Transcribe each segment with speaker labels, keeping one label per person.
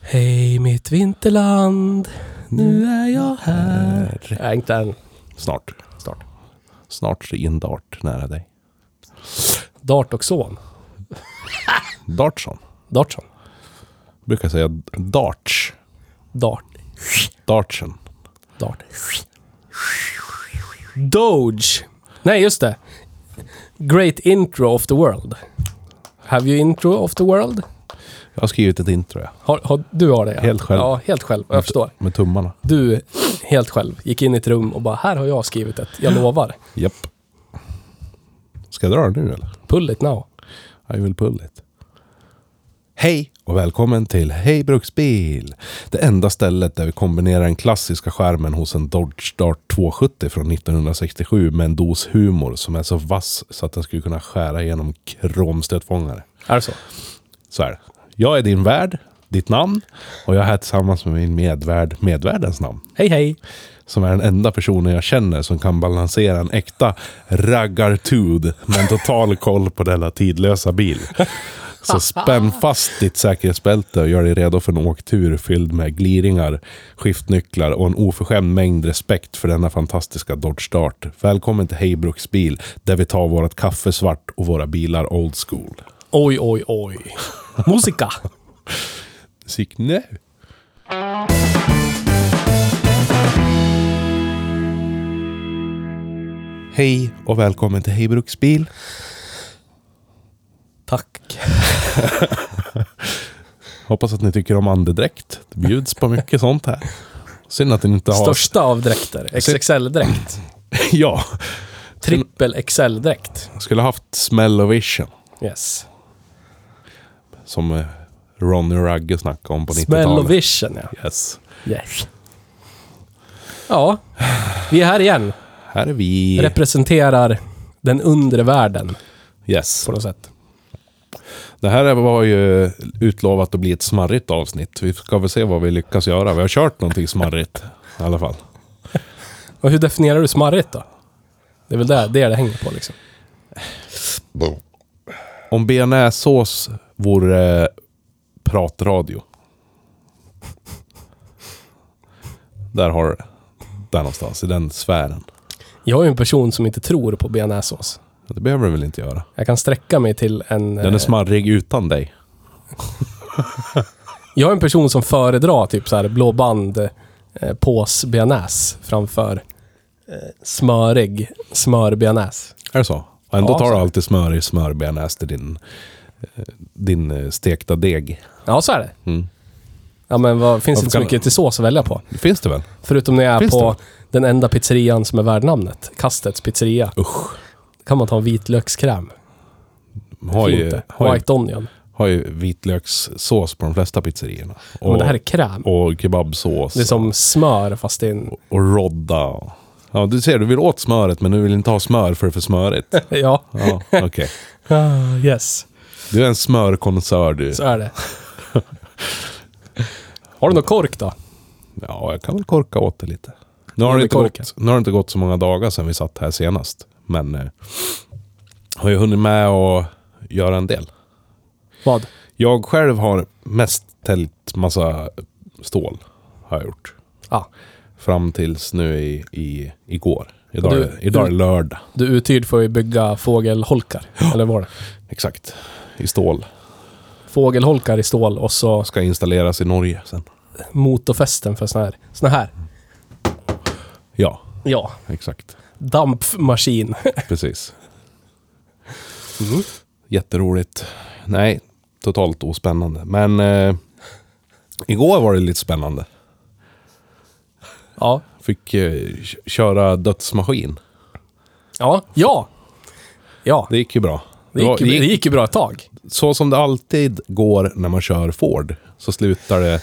Speaker 1: Hej mitt vinterland, nu är jag här. Nej, inte än.
Speaker 2: Mm. Snart.
Speaker 1: Snart.
Speaker 2: Snart så är en dart nära dig.
Speaker 1: Dart och son.
Speaker 2: Dartson.
Speaker 1: Dartson.
Speaker 2: Brukar säga darts.
Speaker 1: Dart.
Speaker 2: Dartsen.
Speaker 1: Dart. Doge. Nej, just det. Great intro of the world. Have you intro of the world?
Speaker 2: Jag har skrivit ett intro jag.
Speaker 1: Har, har, du har det? ja.
Speaker 2: Helt själv.
Speaker 1: Ja, helt själv. Jag förstår.
Speaker 2: Med tummarna.
Speaker 1: Du, helt själv, gick in i ett rum och bara här har jag skrivit ett. Jag lovar.
Speaker 2: Japp. Ska jag dra det nu eller?
Speaker 1: Pull it now.
Speaker 2: I will pull it. Hej och välkommen till Hej Bruksbil! Det enda stället där vi kombinerar den klassiska skärmen hos en Dodge Dart 270 från 1967 med en dos humor som är så vass så att den skulle kunna skära igenom kromstötfångare.
Speaker 1: Är det så?
Speaker 2: Så här. Jag är din värd, ditt namn och jag är här tillsammans med min medvärd, medvärdens namn.
Speaker 1: Hej hej.
Speaker 2: Som är den enda personen jag känner som kan balansera en äkta raggartud med en total koll på denna tidlösa bil. Så spänn fast ditt säkerhetsbälte och gör dig redo för en åktur fylld med gliringar, skiftnycklar och en oförskämd mängd respekt för denna fantastiska Dodge Dart. Välkommen till Hejbruks bil, där vi tar vårt kaffe svart och våra bilar old school.
Speaker 1: Oj, oj, oj. Musika.
Speaker 2: Musik nu! Hej och välkommen till Hej Bruksbil.
Speaker 1: Tack.
Speaker 2: Hoppas att ni tycker om andedräkt. Det bjuds på mycket sånt här. Synd att ni inte har...
Speaker 1: Största av dräkter. XXL-dräkt.
Speaker 2: Ja.
Speaker 1: Trippel XL-dräkt.
Speaker 2: Skulle haft Smell of Vision.
Speaker 1: Yes.
Speaker 2: Som eh, Ronny och Ragge snackade om på 90-talet.
Speaker 1: Smell och vision, ja.
Speaker 2: Yes.
Speaker 1: Yes. Ja, vi är här igen.
Speaker 2: Här är vi.
Speaker 1: Representerar den undre världen
Speaker 2: Yes.
Speaker 1: på något sätt.
Speaker 2: Det här var ju eh, utlovat att bli ett smarrigt avsnitt. Vi ska väl se vad vi lyckas göra. Vi har kört någonting smarrigt i alla fall.
Speaker 1: Och hur definierar du smarrigt då? Det är väl där, det det hänger på liksom.
Speaker 2: Om bearnaisesås vore eh, pratradio. Där har du det. Där någonstans, i den sfären.
Speaker 1: Jag är ju en person som inte tror på bearnaisesås.
Speaker 2: Det behöver du väl inte göra?
Speaker 1: Jag kan sträcka mig till en...
Speaker 2: Den är
Speaker 1: eh,
Speaker 2: smarrig utan dig.
Speaker 1: Jag är en person som föredrar typ så här blå band, eh, pås bearnaise framför eh, smörig smör bearnaise.
Speaker 2: Är det så? Och ändå
Speaker 1: Ja,
Speaker 2: tar
Speaker 1: så
Speaker 2: du
Speaker 1: är det.
Speaker 2: alltid smörig smörbearnaise till din, eh, din eh, stekta deg.
Speaker 1: Ja, så är det.
Speaker 2: Mm.
Speaker 1: Ja, men vad, finns
Speaker 2: Varför
Speaker 1: inte så
Speaker 2: kan-
Speaker 1: mycket till sås att välja på.
Speaker 2: Det finns det väl?
Speaker 1: Förutom när jag är
Speaker 2: Finns
Speaker 1: på den enda pizzerian som är värd namnet. Kastets pizzeria.
Speaker 2: Usch.
Speaker 1: kan man ta en vitlökskräm.
Speaker 2: Har ju,
Speaker 1: Inte.
Speaker 2: har, ju,
Speaker 1: White onion.
Speaker 2: har ju vitlökssås på de flesta pizzerierna.
Speaker 1: Ja, men det här är kräm.
Speaker 2: och kebabsås.
Speaker 1: Det är som smör fast det är en...
Speaker 2: och rodda. Ja, du ser, du vill åt smöret men du vill inte ha smör för det är för smörigt.
Speaker 1: Ja.
Speaker 2: Ja, okej.
Speaker 1: Ah, yes.
Speaker 2: Du är en smörkonsör du.
Speaker 1: Så är det. Har du någon kork då?
Speaker 2: Ja, jag kan väl korka åt det lite. Nu har,
Speaker 1: Ja,
Speaker 2: det
Speaker 1: vi
Speaker 2: inte
Speaker 1: korkar.
Speaker 2: gått, nu har det inte gått så många dagar sedan vi satt här senast. Men eh, har ju hunnit med att göra en del.
Speaker 1: Vad?
Speaker 2: Jag själv har mest täljt massa stål. Har jag gjort.
Speaker 1: Ah,
Speaker 2: Fram tills nu i, i, igår. Idag,
Speaker 1: Du-
Speaker 2: är- idag är
Speaker 1: du-
Speaker 2: lördag.
Speaker 1: du är uthyrd för att bygga fågelholkar. Eller vad var det?
Speaker 2: Exakt. I stål.
Speaker 1: Fågelholkar i stål och så
Speaker 2: Ska installeras i Norge sen.
Speaker 1: motorfästen för såna här. Såna här.
Speaker 2: Ja,
Speaker 1: Ja.
Speaker 2: exakt.
Speaker 1: Dampmaskin.
Speaker 2: Precis.
Speaker 1: Mm.
Speaker 2: Jätteroligt. Nej, totalt ospännande. Men eh, Igår var det lite spännande.
Speaker 1: Ja.
Speaker 2: Fick eh, k- köra dödsmaskin.
Speaker 1: Ja. Ja. Ja.
Speaker 2: Det gick ju bra.
Speaker 1: Det gick,
Speaker 2: var-
Speaker 1: ju- det gick ju bra ett tag.
Speaker 2: så som det alltid går när man kör Ford, så slutar det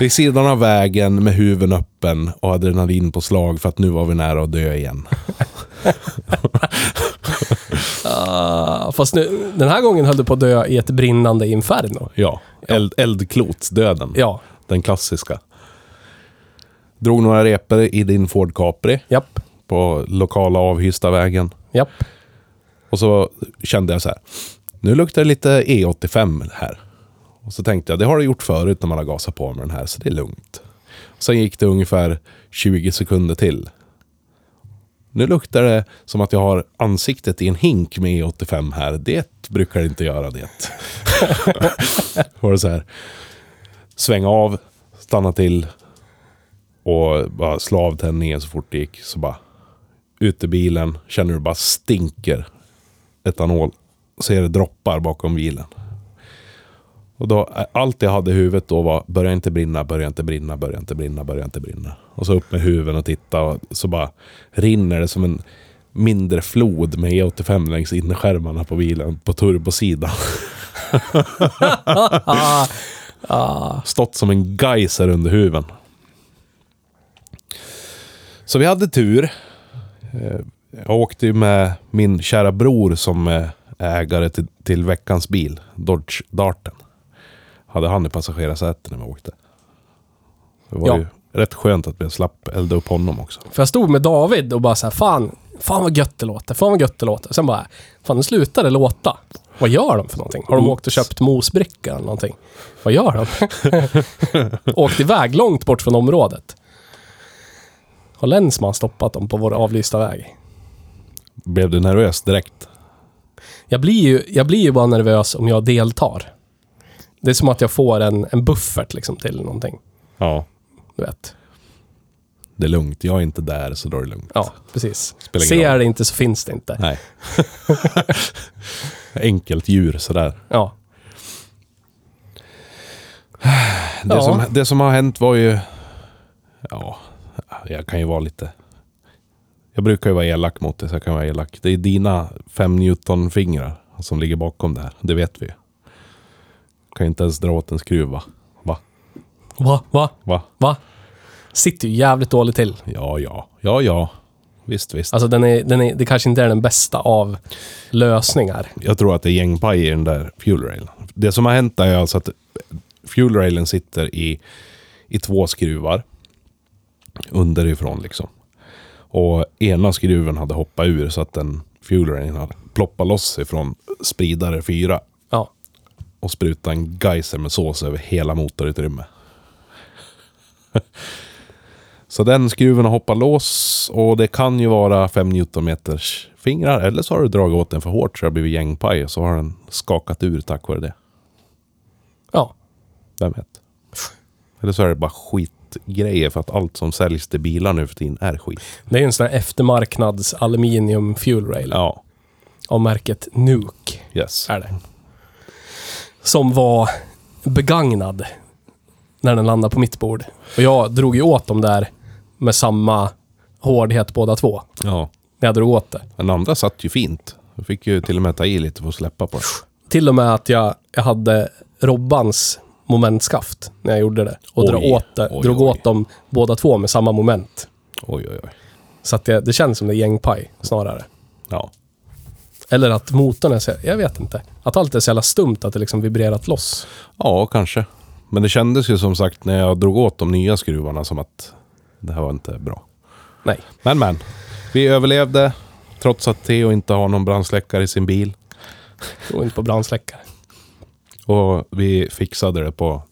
Speaker 2: vid sidan av vägen med huven öppen och adrenalin på slag för att nu var vi nära att dö igen.
Speaker 1: Ah, fast nu, den här gången höll du på att dö i ett brinnande inferno.
Speaker 2: Ja, eld, eldklotsdöden.
Speaker 1: Ja.
Speaker 2: Den klassiska. Drog några repor i din Ford Capri
Speaker 1: Japp.
Speaker 2: på lokala avhysta vägen.
Speaker 1: Japp.
Speaker 2: Och så kände jag så här, nu luktar det lite E85 här. Och så tänkte jag, det har det gjort förut när man har gasat på med den här, så det är lugnt. Sen gick det ungefär 20 sekunder till. Nu luktar det som att jag har ansiktet i en hink med E85 här. Det brukar inte göra det. var det så här. Svänga av, stanna till och bara slå av tändningen så fort det gick. Så bara ut i bilen, känner hur det bara stinker etanol. Ser det droppar bakom bilen. Och då, eh, allt jag hade i huvudet då var, börja inte brinna, börja inte brinna, börja inte brinna, börja inte brinna. Och så upp med huven och titta och så bara rinner det som en mindre flod med E85 längs innerskärmarna på bilen, på turbosidan. Stått som en geyser under huven. Så vi hade tur. Eh, Jag åkte ju med min kära bror som eh, är ägare till, till veckans bil, Dodge Darten. Hade han i passagerarsätet när vi åkte. Det var
Speaker 1: Ja.
Speaker 2: ju rätt skönt att vi slapp elda upp honom också.
Speaker 1: För jag stod med David och bara så här, fan, fan vad gött det låter, fan vad gött det låter. Sen bara, fan nu slutar det låta. Vad gör de för någonting? Har de åkt och köpt mosbricka eller någonting? Vad gör de? åkt iväg långt bort från området. Har länsman stoppat dem på vår avlysta väg?
Speaker 2: Blev du nervös direkt?
Speaker 1: Jag blir ju, jag blir ju bara nervös om jag deltar. Det är som att jag får en, en buffert liksom till någonting.
Speaker 2: Ja.
Speaker 1: Du vet.
Speaker 2: Det är lugnt, jag är inte där så då är det lugnt.
Speaker 1: Ja, precis.
Speaker 2: Spelar ingen
Speaker 1: Ser
Speaker 2: roll.
Speaker 1: det inte så finns det inte.
Speaker 2: Nej. Enkelt djur sådär.
Speaker 1: Ja.
Speaker 2: Det,
Speaker 1: Ja.
Speaker 2: som, det som har hänt var ju... Ja, jag kan ju vara lite... Jag brukar ju vara elak mot det, så jag kan vara elak. Det är dina 5 Newton-fingrar som ligger bakom det här. Det vet vi ju. Kan ju inte ens dra åt en skruv, va? Va?
Speaker 1: Va? Va?
Speaker 2: Va?
Speaker 1: Va? Sitter ju jävligt dåligt till.
Speaker 2: Ja, ja. Ja, ja. Visst, visst.
Speaker 1: Alltså den är, den är, det kanske inte är den bästa av lösningar.
Speaker 2: Jag tror att det är gängpaj i den där fuel railen. Det som har hänt är alltså att fuel railen sitter i, i två skruvar. Underifrån liksom. Och ena skruven hade hoppat ur så att den fuel railen hade ploppat loss ifrån spridare 4
Speaker 1: Ja.
Speaker 2: och sprutat en geyser med sås över hela motorutrymmet. så den skruven har hoppat loss och det kan ju vara 5 newtonmeters fingrar. Eller så har du dragit åt den för hårt så det har blivit gängpaj och så har den skakat ur tack vare det.
Speaker 1: Ja.
Speaker 2: Vem vet? Eller så är det bara skitgrejer för att allt som säljs till bilar nu för tiden är skit.
Speaker 1: Det är ju en sån här eftermarknads aluminium fuel rail
Speaker 2: Ja,
Speaker 1: av märket Nuke.
Speaker 2: yes.
Speaker 1: Är det. Som var begagnad när den landade på mitt bord. Och jag drog ju åt dem där med samma hårdhet båda två.
Speaker 2: Ja.
Speaker 1: När jag drog åt det.
Speaker 2: Den andra satt ju fint. Du fick ju till och med ta i lite för att släppa på den.
Speaker 1: Till och med att jag, jag hade Robbans momentskaft när jag gjorde det. Och
Speaker 2: Oj,
Speaker 1: drog, åt, det,
Speaker 2: oj,
Speaker 1: drog
Speaker 2: oj.
Speaker 1: åt dem båda två med samma moment.
Speaker 2: Oj, oj, oj.
Speaker 1: Så att det, det känns som det är gängpaj snarare.
Speaker 2: Ja.
Speaker 1: Eller att motorn är så, jag vet inte. Att allt är så jävla stumt att det liksom vibrerat loss.
Speaker 2: Ja, kanske. Men det kändes ju som sagt när jag drog åt de nya skruvarna som att det här var inte bra.
Speaker 1: Nej.
Speaker 2: Men men, vi överlevde trots att Theo inte har någon brandsläckare i sin bil.
Speaker 1: Och inte på brandsläckare.
Speaker 2: Och vi fixade det på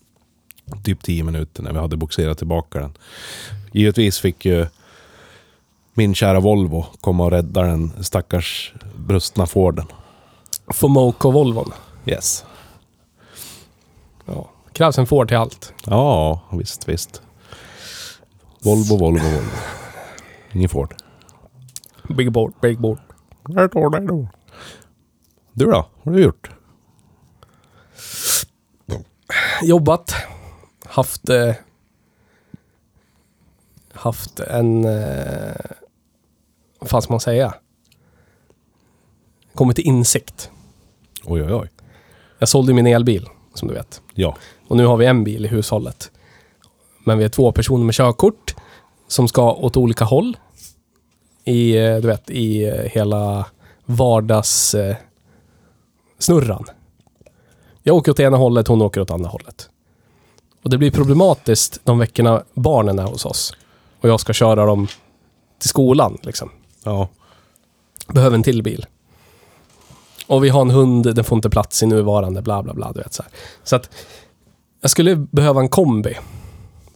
Speaker 2: typ 10 minuter när vi hade boxerat tillbaka den. Givetvis fick ju min kära Volvo komma och rädda den stackars brustna Forden.
Speaker 1: Fomoco-Volvon.
Speaker 2: Yes.
Speaker 1: Ja. Krävs en Ford till allt.
Speaker 2: Ja, visst, visst. Volvo, Volvo, Volvo. Ingen Ford.
Speaker 1: Big board, big board.
Speaker 2: Där står det då. Du då? Vad har du gjort?
Speaker 1: Jobbat. haft... Eh, haft en... Eh, vad fan ska man säga? Kommit till insikt.
Speaker 2: Oj, oj, oj.
Speaker 1: Jag sålde min elbil, som du vet.
Speaker 2: Ja.
Speaker 1: Och nu har vi en bil i hushållet. Men vi är två personer med körkort som ska åt olika håll. I, eh, du vet, i eh, hela vardags... Eh, snurran. Jag åker åt ena hållet, hon åker åt andra hållet. Och det blir problematiskt de veckorna barnen är hos oss. Och jag ska köra dem till skolan, liksom.
Speaker 2: Ja.
Speaker 1: Behöver en till bil. Och vi har en hund, den får inte plats i nuvarande, bla bla bla. Du vet, så här. så att jag skulle behöva en kombi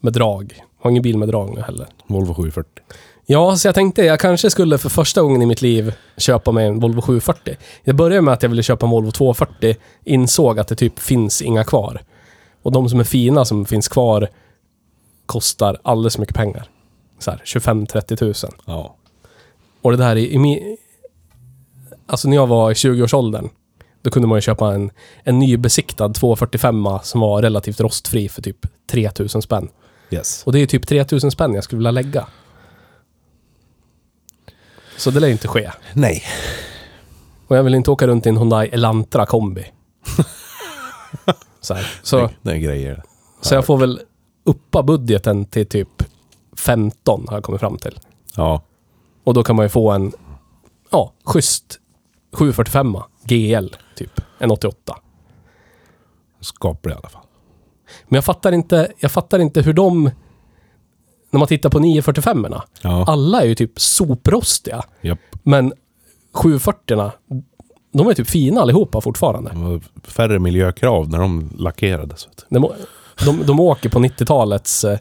Speaker 1: med drag. Har ingen bil med drag nu heller.
Speaker 2: Volvo 740.
Speaker 1: Ja, så jag tänkte jag kanske skulle för första gången i mitt liv köpa mig en Volvo 740. Jag började med att jag ville köpa en Volvo 240, insåg att det typ finns inga kvar. Och de som är fina som finns kvar kostar alldeles för mycket pengar. Så här 25-30 tusen.
Speaker 2: Ja.
Speaker 1: Och det där i, i min... Alltså när jag var i 20-årsåldern, då kunde man ju köpa en, en nybesiktad 245 som var relativt rostfri för typ 3000 spänn.
Speaker 2: Yes.
Speaker 1: Och det är ju typ 3000 spänn jag skulle vilja lägga. Så det lär ju inte ske.
Speaker 2: Nej.
Speaker 1: Och jag vill inte åka runt i en Hyundai Elantra kombi. så här. Så,
Speaker 2: Det är grejer.
Speaker 1: så jag får väl uppa budgeten till typ 15 har jag kommit fram till.
Speaker 2: Ja.
Speaker 1: Och då kan man ju få en, ja, schysst 745 GL, typ. En 88.
Speaker 2: Skaplig i alla fall.
Speaker 1: Men jag fattar inte, jag fattar inte hur de, när man tittar på 945 erna
Speaker 2: Ja.
Speaker 1: alla är ju typ soprostiga.
Speaker 2: Japp.
Speaker 1: Men 740 de är typ fina allihopa fortfarande.
Speaker 2: Det var Färre miljökrav när de lackerades. Vet du.
Speaker 1: De, de, de åker på 90-talets, eh,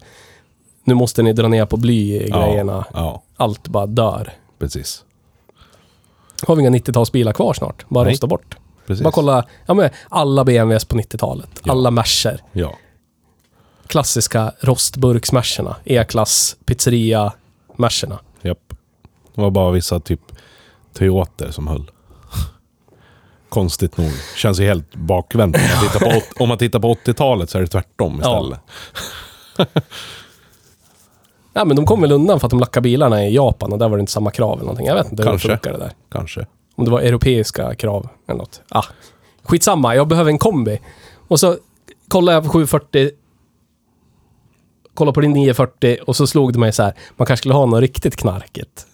Speaker 1: nu måste ni dra ner på bly i grejerna.
Speaker 2: Ja. ja.
Speaker 1: Allt bara dör.
Speaker 2: Precis.
Speaker 1: Har vi inga 90-talsbilar kvar snart? Bara
Speaker 2: Nej.
Speaker 1: rosta bort.
Speaker 2: Precis.
Speaker 1: Bara kolla, ja men alla BMWs på 90-talet. Alla Mercer.
Speaker 2: Ja.
Speaker 1: Klassiska rostburksmerserna. E-klass, pizzeria, Mercerna.
Speaker 2: Japp. Det var bara vissa typ teater som höll. Konstigt nog. Känns ju helt bakvänt. Om man tittar på, åt- om man tittar på 80-talet så är det tvärtom
Speaker 1: Ja.
Speaker 2: istället.
Speaker 1: Nej men de kom väl undan för att de lackade bilarna i Japan och där var det inte samma krav eller någonting. Jag vet inte hur
Speaker 2: Kanske.
Speaker 1: de funkar det där.
Speaker 2: Kanske.
Speaker 1: Om det var europeiska krav eller något. Ah, skitsamma, jag behöver en kombi. Och så kollade jag på 740. Kollade på din 940 och så slog det mig så här. Man kanske skulle ha något riktigt knarkigt.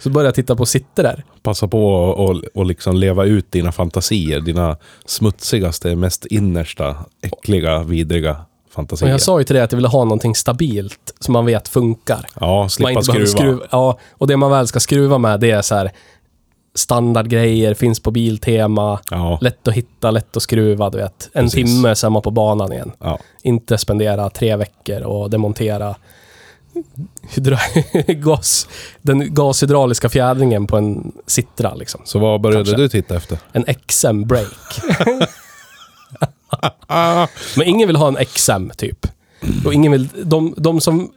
Speaker 1: så började jag titta på sitter där.
Speaker 2: Passa på att och, och liksom leva ut dina fantasier. Dina smutsigaste, mest innersta, äckliga, vidriga
Speaker 1: Och
Speaker 2: fantasier.
Speaker 1: jag sa ju till dig att jag ville ha någonting stabilt som man vet funkar.
Speaker 2: ja,
Speaker 1: man
Speaker 2: slippa skruva.
Speaker 1: behöver Ja, och det man väl ska skruva med det är så här standardgrejer, finns på Biltema.
Speaker 2: Ja.
Speaker 1: Lätt att hitta, lätt att skruva, du vet. En
Speaker 2: Precis.
Speaker 1: timme så är man på banan igen.
Speaker 2: Ja.
Speaker 1: Inte spendera tre veckor och demontera hydra- gas, den gashydrauliska fjädringen på en Citra. Liksom.
Speaker 2: Så vad började
Speaker 1: Kanske.
Speaker 2: du titta efter?
Speaker 1: En XM break. Men ingen vill ha en XM typ. Och ingen vill, de, de, som,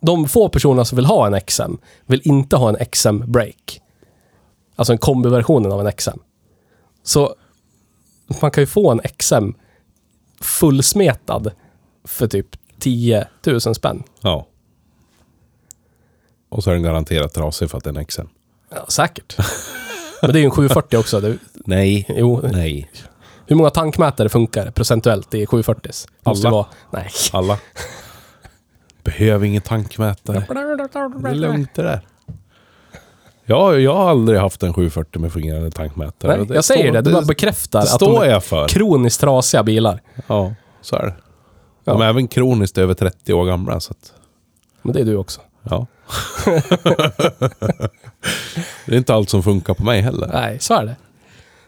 Speaker 1: de få personerna som vill ha en XM vill inte ha en XM break. Alltså en kombiversionen av en XM. Så man kan ju få en XM fullsmetad för typ 10 000 spänn.
Speaker 2: Ja. Och så är den garanterat trasig för att den är XM.
Speaker 1: Ja, säkert. Men det är ju en 740 också. Det,
Speaker 2: Nej.
Speaker 1: jo,
Speaker 2: Nej.
Speaker 1: Hur många tankmätare funkar procentuellt i 740? Måste
Speaker 2: Alla.
Speaker 1: vara... Nej.
Speaker 2: Alla. Behöver ingen tankmätare. Det är lugnt det där. Ja, jag har aldrig haft en 740 med fungerande tankmätare.
Speaker 1: Nej, jag säger
Speaker 2: står-
Speaker 1: det, det bara bekräftar
Speaker 2: det
Speaker 1: att
Speaker 2: står
Speaker 1: de är
Speaker 2: jag för.
Speaker 1: kroniskt trasiga bilar.
Speaker 2: Ja, så är det.
Speaker 1: Ja.
Speaker 2: De är även kroniskt över 30 år gamla. Så att,
Speaker 1: Men det är du också.
Speaker 2: ja. det är inte allt som funkar på mig heller.
Speaker 1: Nej, så är det.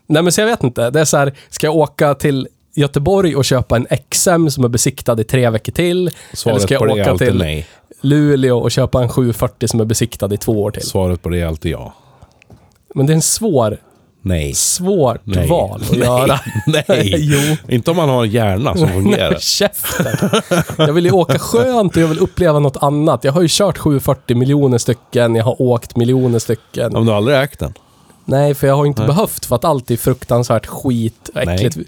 Speaker 1: Nej, men så jag vet inte. Det är så här, ska jag åka till Göteborg och köpa en XM som är besiktad i tre veckor till?
Speaker 2: Svaret
Speaker 1: eller ska jag
Speaker 2: på det är
Speaker 1: åka
Speaker 2: alltid
Speaker 1: till
Speaker 2: nej.
Speaker 1: Luleå och köpa en 740 som är besiktad i två år till?
Speaker 2: Svaret på det är alltid ja.
Speaker 1: Men det är en svår,
Speaker 2: Nej.
Speaker 1: svårt
Speaker 2: Nej.
Speaker 1: val att göra.
Speaker 2: Nej.
Speaker 1: Jo.
Speaker 2: Inte om man har en hjärna som
Speaker 1: Nej,
Speaker 2: fungerar.
Speaker 1: men käften. Jag vill ju åka skönt och jag vill uppleva något annat. Jag har ju kört 740 miljoner stycken, jag har åkt miljoner stycken.
Speaker 2: Om du aldrig ägt den.
Speaker 1: Nej, för jag har inte behövt för att allt är fruktansvärt skit och äckligt.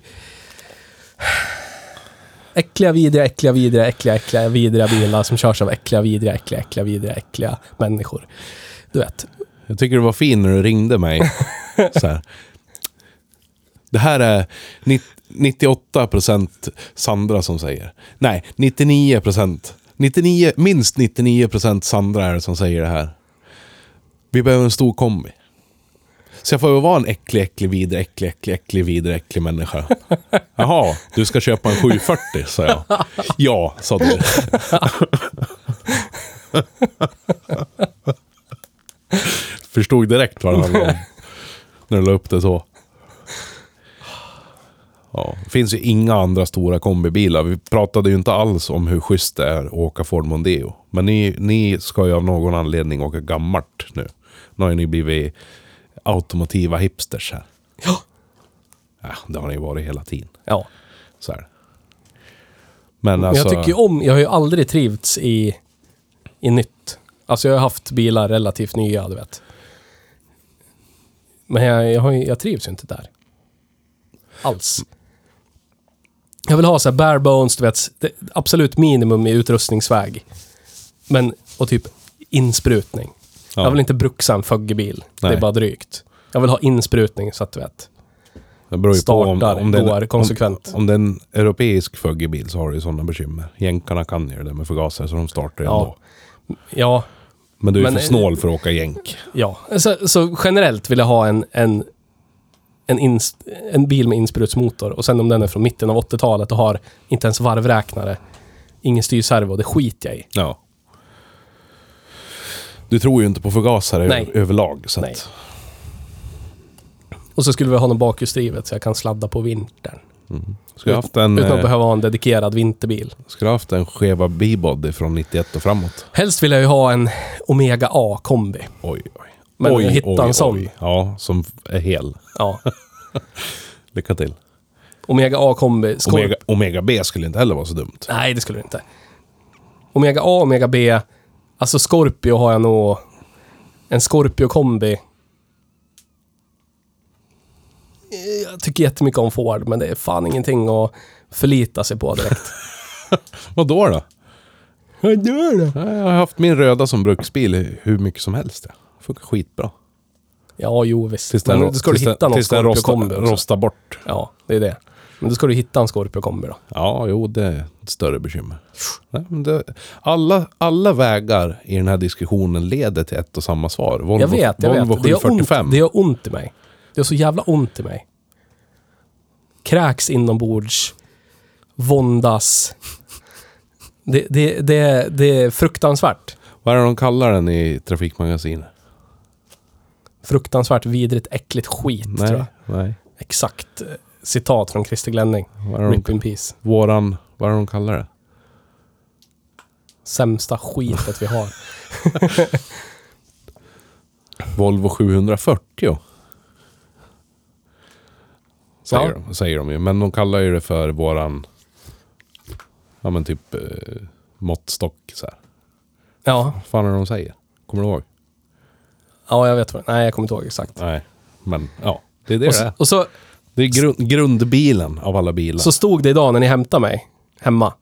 Speaker 1: Äckliga, vidriga, äckliga, vidriga, äckliga, äckliga, vidriga bilar som körs av äckliga, vidriga, äckliga, äckliga, vidriga, äckliga människor. Du vet.
Speaker 2: Jag tycker du var fin när du ringde mig. Så här. Det här är ni- 98% Sandra som säger. Nej, 99%. 99 minst 99% Sandra är det som säger det här. Vi behöver en stor kombi. Så jag får väl vara en äcklig, äcklig, vidrig, äcklig, äcklig, äcklig, vidrig, äcklig människa. Jaha, du ska köpa en 740, sa jag. Ja, sa du. Förstod direkt vad det handlade om. När du la upp det så. Ja, det finns ju inga andra stora kombibilar. Vi pratade ju inte alls om hur schysst det är att åka Ford Mondeo. Men ni, ni ska ju av någon anledning åka gammalt nu. Nu har ju ni blivit automotiva hipsters här.
Speaker 1: Ja.
Speaker 2: Ja, det har ni ju varit hela tiden.
Speaker 1: Ja.
Speaker 2: Så här. Men
Speaker 1: Men
Speaker 2: alltså...
Speaker 1: Jag tycker ju om, jag har ju aldrig trivts i, i nytt. Alltså jag har haft bilar relativt nya, du vet. Men jag, jag, har, ju- jag trivs ju inte där. Alls. Jag vill ha så här bare bones, du vet, det, absolut minimum i utrustningsväg. Men, och typ insprutning.
Speaker 2: ja.
Speaker 1: Jag vill inte bruxa en fuggebil. Det är
Speaker 2: Nej.
Speaker 1: bara drygt. Jag vill ha insprutning så att du vet.
Speaker 2: Det beror ju på om,
Speaker 1: startar,
Speaker 2: om, det
Speaker 1: går
Speaker 2: är,
Speaker 1: konsekvent.
Speaker 2: Om, om det är en europeisk fuggebil så har du ju sådana bekymmer. Jänkarna kan ju det där med förgasare så de startar ju
Speaker 1: Ja.
Speaker 2: ändå.
Speaker 1: Ja,
Speaker 2: Men du är ju
Speaker 1: Men- eh,
Speaker 2: för snål för att åka jänk.
Speaker 1: Ja, så, så generellt vill jag ha en, en, en, ins, en bil med insprutsmotor. Och sen om den är från mitten av 80-talet och har inte ens varvräknare, ingen styrservo, det skiter jag i.
Speaker 2: Ja. Du tror ju inte på förgasare
Speaker 1: Nej.
Speaker 2: ö- överlag. Så
Speaker 1: Nej.
Speaker 2: att,
Speaker 1: Och så skulle vi ha någon bakhjulsdrivet så jag kan sladda på vintern.
Speaker 2: skulle haft en,
Speaker 1: Utan att
Speaker 2: eh,
Speaker 1: behöva ha en dedikerad vinterbil.
Speaker 2: skulle haft en skeva bibody från 91 och framåt.
Speaker 1: Helst vill jag ju ha en Omega A-kombi.
Speaker 2: Oj, oj.
Speaker 1: Men
Speaker 2: oj,
Speaker 1: hitta en sån.
Speaker 2: Ja, som är hel.
Speaker 1: Ja.
Speaker 2: Lycka till.
Speaker 1: Omega A-kombi. Scorp-
Speaker 2: Omega, Omega B skulle inte heller vara så dumt.
Speaker 1: Nej, det skulle det inte. Omega A, Omega B. Alltså Scorpio har jag nog... En Scorpio-kombi. Eh, Jag tycker jättemycket om Ford, men det är fan ingenting att förlita sig på direkt.
Speaker 2: Vad då då?
Speaker 1: Vad gör det?
Speaker 2: Jag har haft min röda som bruksbil hur mycket som helst. Det funkar skitbra.
Speaker 1: Ja, jo visst.
Speaker 2: Tills
Speaker 1: men
Speaker 2: den,
Speaker 1: då ska du
Speaker 2: tills den-
Speaker 1: hitta någon
Speaker 2: tills den rostar,
Speaker 1: Scorpio-kombi också.
Speaker 2: rostar bort.
Speaker 1: Ja, det är det. Men då ska du hitta en Scorpio-kombi då.
Speaker 2: Ja, jo, det är ett större bekymmer. Nej, men det, alla, alla vägar i den här diskussionen leder till ett och samma svar. Volvo,
Speaker 1: Jag vet, jag
Speaker 2: Volvo
Speaker 1: vet. Det gör, ont,
Speaker 2: 745.
Speaker 1: det gör ont i mig. Det gör så jävla ont i mig. Kräks inombords. Våndas. Det, det, det, det är fruktansvärt.
Speaker 2: Vad är det de kallar den i Trafikmagasinet?
Speaker 1: Fruktansvärt vidrigt, äckligt skit, tror
Speaker 2: Nej,
Speaker 1: jag.
Speaker 2: nej.
Speaker 1: Exakt eh, citat från Christer Glenning.
Speaker 2: Vad är,
Speaker 1: Rip
Speaker 2: de,
Speaker 1: in peace.
Speaker 2: våran, vad är det de kallar det?
Speaker 1: Sämsta skitet vi har.
Speaker 2: Volvo 740. Säger,
Speaker 1: Ja.
Speaker 2: de, säger de ju. Men de kallar ju det för våran... Ja men typ eh, måttstock så här.
Speaker 1: Ja,
Speaker 2: Vad fan är det de säger? Kommer du ihåg?
Speaker 1: ja jag vet vad Nej, jag kommer inte ihåg exakt.
Speaker 2: Nej. Men ja, det är det
Speaker 1: Och
Speaker 2: det
Speaker 1: så,
Speaker 2: är.
Speaker 1: och så,
Speaker 2: Det är grund, grundbilen av alla bilar.
Speaker 1: så stod det idag när ni hämtade mig hemma.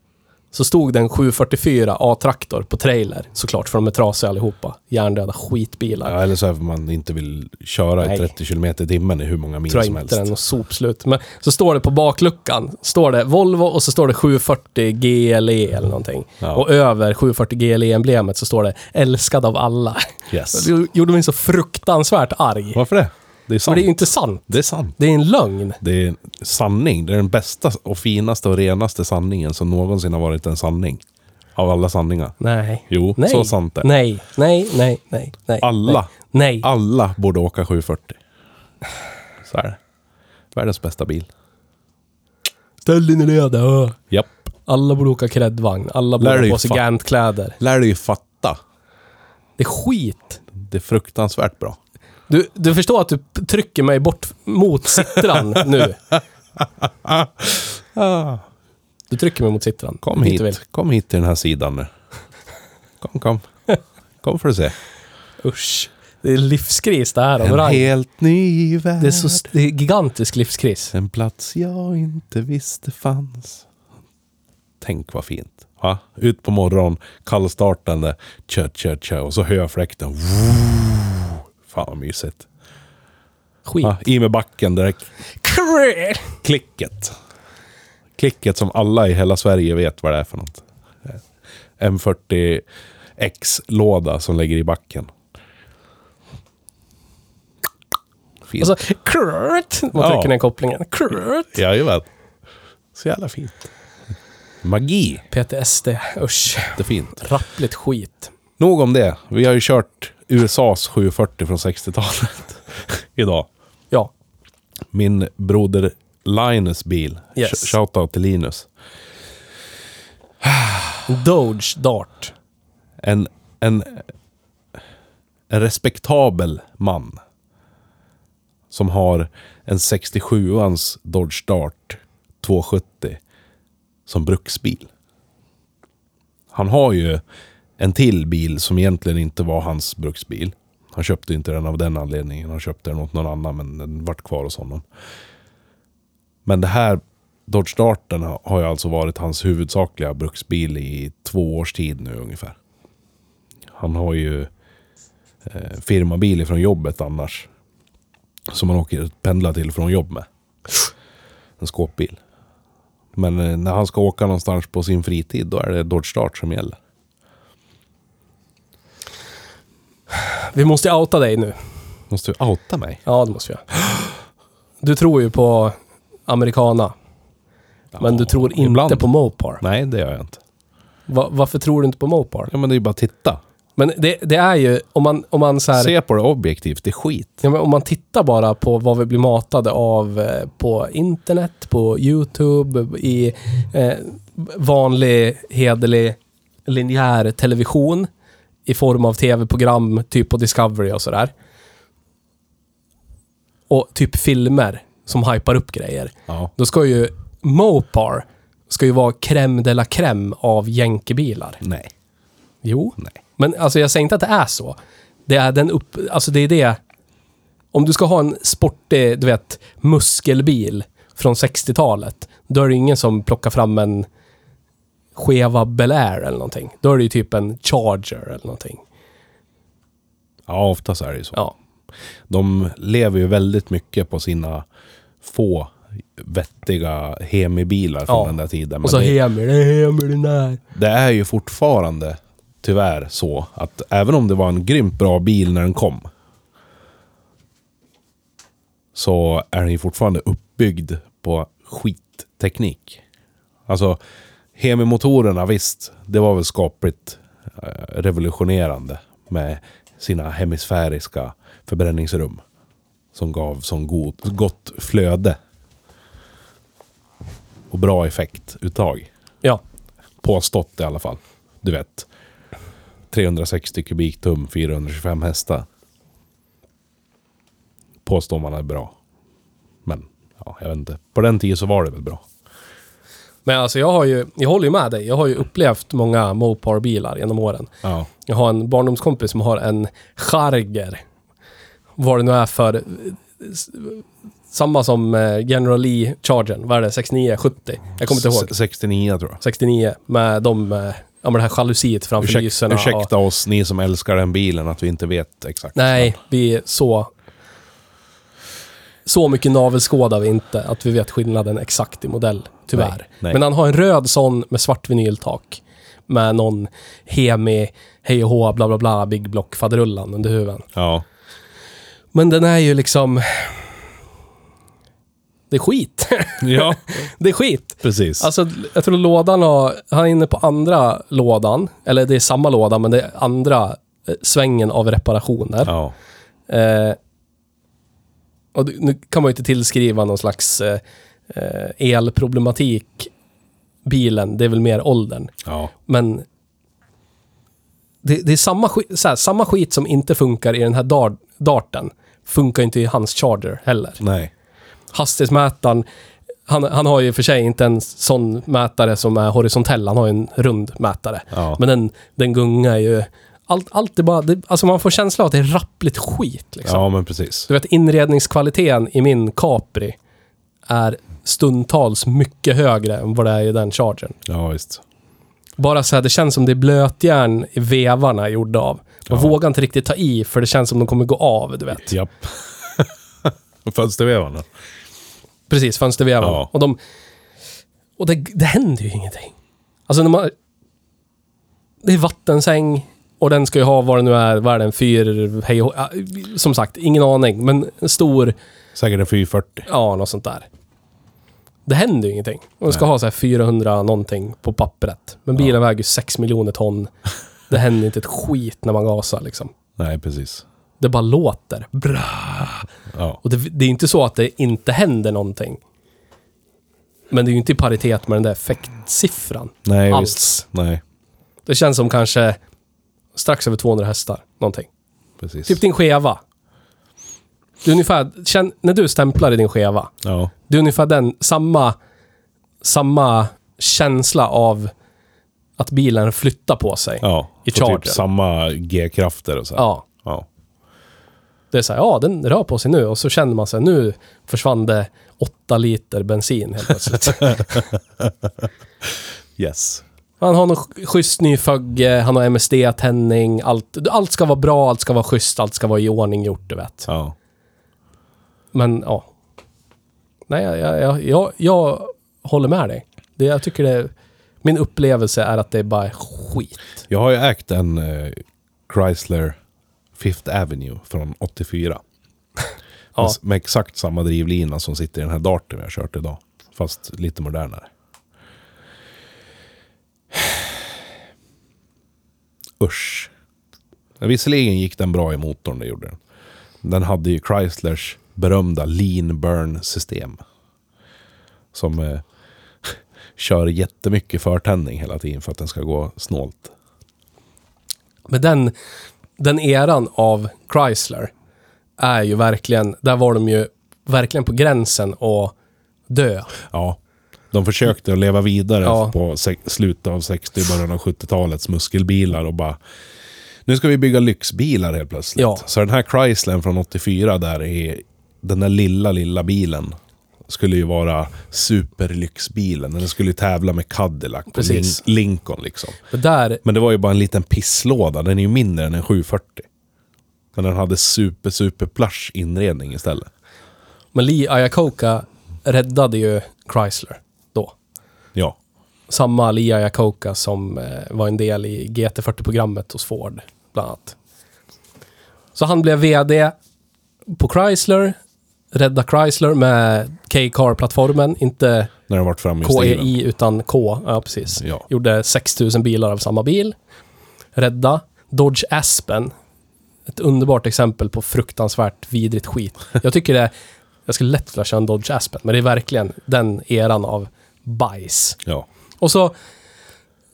Speaker 1: Så stod det en 744 A-traktor på trailer. Såklart, för de är trasiga allihopa. Hjärndöda skitbilar.
Speaker 2: ja, eller så är det man inte vill köra
Speaker 1: Nej.
Speaker 2: i 30 kilometer i timmen i hur många mil
Speaker 1: tror
Speaker 2: som
Speaker 1: jag
Speaker 2: helst.
Speaker 1: inte den och sopslut. Men så står det på bakluckan, står det Volvo och så står det 740 GLE E eller någonting.
Speaker 2: Ja.
Speaker 1: Och över 740 GLE-emblemet så står det älskad av alla.
Speaker 2: Yes.
Speaker 1: Det gjorde mig så fruktansvärt arg.
Speaker 2: Varför det? Det är
Speaker 1: Men
Speaker 2: sant.
Speaker 1: det är ju inte sant.
Speaker 2: det är sant.
Speaker 1: Det är en lögn.
Speaker 2: Det är sanning. Det är den bästa och finaste och renaste sanningen som någonsin har varit en sanning. Av alla sanningar.
Speaker 1: Nej.
Speaker 2: Jo,
Speaker 1: nej.
Speaker 2: så sant det.
Speaker 1: Nej, nej, nej, nej, nej.
Speaker 2: Alla.
Speaker 1: Nej.
Speaker 2: Alla borde åka 740. Så är det. Världens bästa bil.
Speaker 1: Ställ din röda. ö.
Speaker 2: Japp.
Speaker 1: Alla borde åka kräddvagn. Alla
Speaker 2: Lär
Speaker 1: borde
Speaker 2: dig
Speaker 1: ha på sig
Speaker 2: fan.
Speaker 1: Gant-kläder.
Speaker 2: Lär dig ju fatta.
Speaker 1: Det är skit.
Speaker 2: Det är fruktansvärt bra.
Speaker 1: Du, du förstår att du p- trycker mig bort mot sittran nu. Du trycker mig mot sittran.
Speaker 2: Kom
Speaker 1: Dit du vill.
Speaker 2: hit. Kom hit till den här sidan nu. Kom, kom. Kom får du se.
Speaker 1: Usch. Det är livskris det här. av
Speaker 2: En
Speaker 1: rang.
Speaker 2: helt ny värld.
Speaker 1: Det är, så, det är gigantisk livskris.
Speaker 2: En plats jag inte visste fanns. Tänk vad fint. Va? Ut på morgonen, kallstartande, kör, kör, kör. Och så höfläkten. Woo! Fan vad mysigt.
Speaker 1: Skit.
Speaker 2: Ja, I med backen direkt. Klicket. Klicket som alla i hela Sverige vet vad det är för något. Eh, M40X-låda som ligger i backen. Fint.
Speaker 1: Alltså, krrt. Man
Speaker 2: Ja.
Speaker 1: trycker ner kopplingen. Krrt.
Speaker 2: Jajamän. Så jävla fint. Magi.
Speaker 1: PTSD. Usch.
Speaker 2: Jättefint.
Speaker 1: Rappligt skit.
Speaker 2: Nog om det. Vi har ju kört USAs 740 från 60-talet idag.
Speaker 1: Ja.
Speaker 2: Min broder Linus bil.
Speaker 1: Yes.
Speaker 2: Sh- Shoutout till Linus.
Speaker 1: Doge Dart.
Speaker 2: En, en, en respektabel man. Som har en 67ans Dodge Dart 270 som bruksbil. Han har ju en till bil som egentligen inte var hans bruksbil. Han köpte inte den av den anledningen. Han köpte den åt någon annan men den vart kvar hos honom. Men det här Dodge Darten har ju alltså varit hans huvudsakliga bruksbil i två års tid nu ungefär. Han har ju eh, firmabil från jobbet annars. Som han åker pendla till från jobb med. En skåpbil. Men eh, när han ska åka någonstans på sin fritid då är det Dodge Dart som gäller.
Speaker 1: Vi måste outa dig nu.
Speaker 2: Måste du outa mig?
Speaker 1: Ja, det måste vi göra. Du tror ju på americana. Men du tror inte
Speaker 2: ibland.
Speaker 1: på Mopar.
Speaker 2: Nej, det gör jag inte.
Speaker 1: Va, varför tror du inte på Mopar?
Speaker 2: Ja, men det är ju bara att titta.
Speaker 1: Men det, det är ju, om man, om man så här...
Speaker 2: Se på det objektivt, det är skit.
Speaker 1: Ja, men om man tittar bara på vad vi blir matade av eh, på internet, på YouTube, i eh, vanlig hederlig linjär television i form av tv-program, typ på Discovery och sådär. Och typ filmer som hypar upp grejer.
Speaker 2: Ja.
Speaker 1: Då ska ju Mopar ska ju vara crème de la crème av jänkebilar.
Speaker 2: Nej.
Speaker 1: Jo.
Speaker 2: Nej.
Speaker 1: Men alltså jag säger inte att det är så. Det är den upp... Alltså det är det... Om du ska ha en sportig, du vet, muskelbil från 60-talet, då är det ingen som plockar fram en Cheva Bel Air eller någonting. Då är det ju typ en Charger eller någonting.
Speaker 2: Ja, oftast är det ju så.
Speaker 1: Ja.
Speaker 2: De lever ju väldigt mycket på sina få vettiga hemibilar från
Speaker 1: Ja.
Speaker 2: den där tiden. Men
Speaker 1: Och så
Speaker 2: det,
Speaker 1: Hemi, det är Hemi den där.
Speaker 2: det är ju fortfarande tyvärr så att även om det var en grymt bra bil när den kom så är den ju fortfarande uppbyggd på skitteknik. Alltså, Hemi-motorerna, visst, det var väl skapligt eh, revolutionerande med sina hemisfäriska förbränningsrum som gav sån god, gott flöde och bra effektuttag.
Speaker 1: Ja.
Speaker 2: Påstått i alla fall. Du vet. 360 kubiktum, 425 hästar. Påstår man är bra. Men, ja, jag vet inte. På den tiden så var det väl bra.
Speaker 1: Men alltså jag har ju, jag håller ju med dig. Jag har ju upplevt många Mopar-bilar genom åren.
Speaker 2: Ja.
Speaker 1: Jag har en barndomskompis som har en charger. Vad det nu är för... eh, s- Samma som eh, General Lee Chargern. Vad är det? 69, 70? Jag kommer inte ihåg.
Speaker 2: Se- 69 tror jag.
Speaker 1: 69. Med de... eh, Ja, men det här jalusiet framför
Speaker 2: Ursäk,
Speaker 1: lyserna.
Speaker 2: ursäkta
Speaker 1: och,
Speaker 2: oss, ni som älskar den bilen, att vi inte vet exakt.
Speaker 1: Nej, vi är så... Så mycket navelskådar vi inte att vi vet skillnaden exakt i modell, tyvärr.
Speaker 2: Nej, nej.
Speaker 1: Men han har en röd sån med svart vinyltak. Med någon Hemi, hej och hå, bla bla bla, Big Block-faderullan under huven.
Speaker 2: Ja.
Speaker 1: Men den är ju liksom... Det är skit.
Speaker 2: Ja,
Speaker 1: det är skit.
Speaker 2: precis.
Speaker 1: Alltså, jag tror lådan har... Han är inne på andra lådan. Eller det är samma låda, men det är andra eh, svängen av reparationer.
Speaker 2: ja.
Speaker 1: Eh, och det- nu kan man ju inte tillskriva någon slags eh, eh, elproblematik bilen. Det är väl mer åldern.
Speaker 2: Ja.
Speaker 1: Men det, det är samma skit, så här, samma skit som inte funkar i den här dar, darten. Funkar ju inte i hans charger heller.
Speaker 2: Nej.
Speaker 1: Hastighetsmätaren, han, han har ju för sig inte en sån mätare som är horisontell. Han har ju en rund mätare.
Speaker 2: Ja.
Speaker 1: Men den, den gungar ju. Allt, allt är bara, det, alltså man får känsla av att det är rappligt skit. Liksom.
Speaker 2: Ja, men precis.
Speaker 1: Du vet inredningskvaliteten i min Capri är stundtals mycket högre än vad det är i den chargern.
Speaker 2: Ja, visst.
Speaker 1: Bara så här, det känns som det är blötjärn i vevarna är gjorda av. Man
Speaker 2: Ja.
Speaker 1: vågar inte riktigt ta i, för det känns som de kommer gå av, du vet.
Speaker 2: Japp. Fönstervevarna.
Speaker 1: Precis, fönstervevarna.
Speaker 2: Ja.
Speaker 1: Och, de, och det, det händer ju ingenting. Alltså när man... Det är vattensäng och den ska ju ha vad det nu är, vad är den, fyr, hej och- ja, Som sagt, ingen aning, men en stor,
Speaker 2: Säkert en 440.
Speaker 1: ja, något sånt där. Det händer ju ingenting. De ska
Speaker 2: Nej.
Speaker 1: ha så här 400 någonting på pappret. Men bilen väger ju 6 miljoner ton. Det händer inte ett skit när man gasar liksom.
Speaker 2: Nej, precis.
Speaker 1: Det bara låter. Bra.
Speaker 2: Ja.
Speaker 1: Och det, det är inte så att det inte händer någonting. Men det är ju inte i paritet med den där effektsiffran.
Speaker 2: Nej,
Speaker 1: Alls.
Speaker 2: visst. Nej,
Speaker 1: Det känns som kanske strax över 200 hästar, någonting.
Speaker 2: precis.
Speaker 1: Typ din skeva. Det är ungefär, känn, när du stämplar i din skeva,
Speaker 2: Ja.
Speaker 1: det är ungefär den, samma, samma känsla av att bilen flyttar på sig.
Speaker 2: ja.
Speaker 1: I
Speaker 2: Får
Speaker 1: charger.
Speaker 2: Typ samma G-krafter och så. här.
Speaker 1: Ja.
Speaker 2: ja.
Speaker 1: Det är så här, ja den rör på sig nu och så känner man sig nu försvann det åtta liter bensin helt plötsligt.
Speaker 2: Yes.
Speaker 1: Han har någon sch- schysst ny fögge, han har MSD-tändning, allt, allt ska vara bra, allt ska vara schysst, allt ska vara i ordning gjort, du vet.
Speaker 2: Ja.
Speaker 1: Men ja. Nej, jag, jag, jag, jag, jag håller med dig. Det, jag tycker det, min upplevelse är att det är bara skit.
Speaker 2: Jag har ju ägt en eh, Chrysler Fifth Avenue från 84.
Speaker 1: Ja.
Speaker 2: Med- Med exakt samma drivlina som sitter i den här darten vi har kört idag. Fast lite modernare. Usch. Men Visserligen gick den bra i motorn, det gjorde den. Den hade ju Chryslers berömda lean burn system. Som eh, kör jättemycket förtändning hela tiden för att den ska gå snålt.
Speaker 1: Men den, den eran av Chrysler är ju verkligen, där var de ju verkligen på gränsen att dö.
Speaker 2: Ja. De försökte att leva vidare
Speaker 1: Ja.
Speaker 2: på se- slutet av 60 början av 70-talets muskelbilar och bara... Nu ska vi bygga lyxbilar helt plötsligt.
Speaker 1: Ja.
Speaker 2: Så den här Chryslern från 84 där är... Den där lilla, lilla bilen skulle ju vara superlyxbilen. Den skulle ju tävla med Cadillac och
Speaker 1: Precis.
Speaker 2: Lin- Lincoln liksom.
Speaker 1: Det där,
Speaker 2: Men det var ju bara en liten pisslåda. Den är ju mindre än en 740. Men den hade super, super plush inredning istället.
Speaker 1: men Lee Iacocca räddade ju Chrysler då.
Speaker 2: Ja.
Speaker 1: Samma Lee Iacocca som eh, var en del i GT40-programmet hos Ford, bland annat. Så han blev VD på Chrysler, rädda Chrysler med K-Car-plattformen, inte
Speaker 2: När den vart framhjulsdriven.
Speaker 1: KEI utan K, ja precis.
Speaker 2: Ja.
Speaker 1: Gjorde 6000 bilar av samma bil. Rädda. Dodge Aspen. Ett underbart exempel på fruktansvärt vidrigt skit. Jag tycker det, jag skulle lätt vilja köra en Dodge Aspen, men det är verkligen den eran av bajs.
Speaker 2: Ja.
Speaker 1: Och så,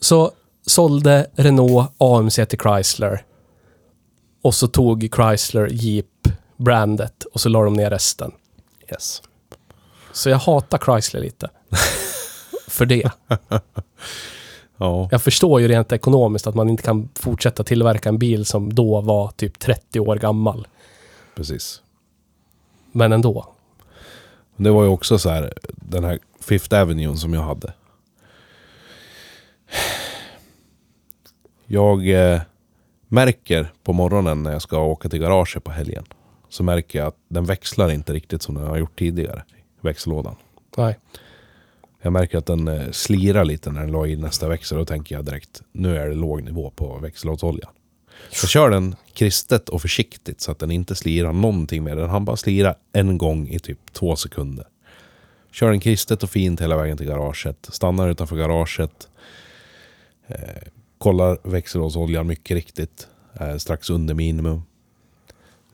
Speaker 1: så sålde Renault AMC till Chrysler. Och så tog Chrysler Jeep-brandet och så la de ner resten.
Speaker 2: Yes.
Speaker 1: Så jag hatar Chrysler lite. För det.
Speaker 2: Ja.
Speaker 1: Jag förstår ju rent ekonomiskt att man inte kan fortsätta tillverka en bil som då var typ 30 år gammal.
Speaker 2: Precis.
Speaker 1: Men ändå.
Speaker 2: Det var ju också så här, den här Fifth Avenue som jag hade. Jag eh, märker på morgonen när jag ska åka till garaget på helgen. Så märker jag att den växlar inte riktigt som den har gjort tidigare. Växellådan.
Speaker 1: Nej.
Speaker 2: Jag märker att den eh, slirar lite när den la i nästa växel. Då tänker jag direkt, nu är det låg nivå på växellådsoljan. Jag kör den kristet och försiktigt så att den inte slirar någonting mer. Den hann bara slira en gång i typ två sekunder. Kör den kristet och fint hela vägen till garaget. Stannar utanför garaget. Eh, kollar växellådsoljan mycket riktigt. Eh, strax under minimum.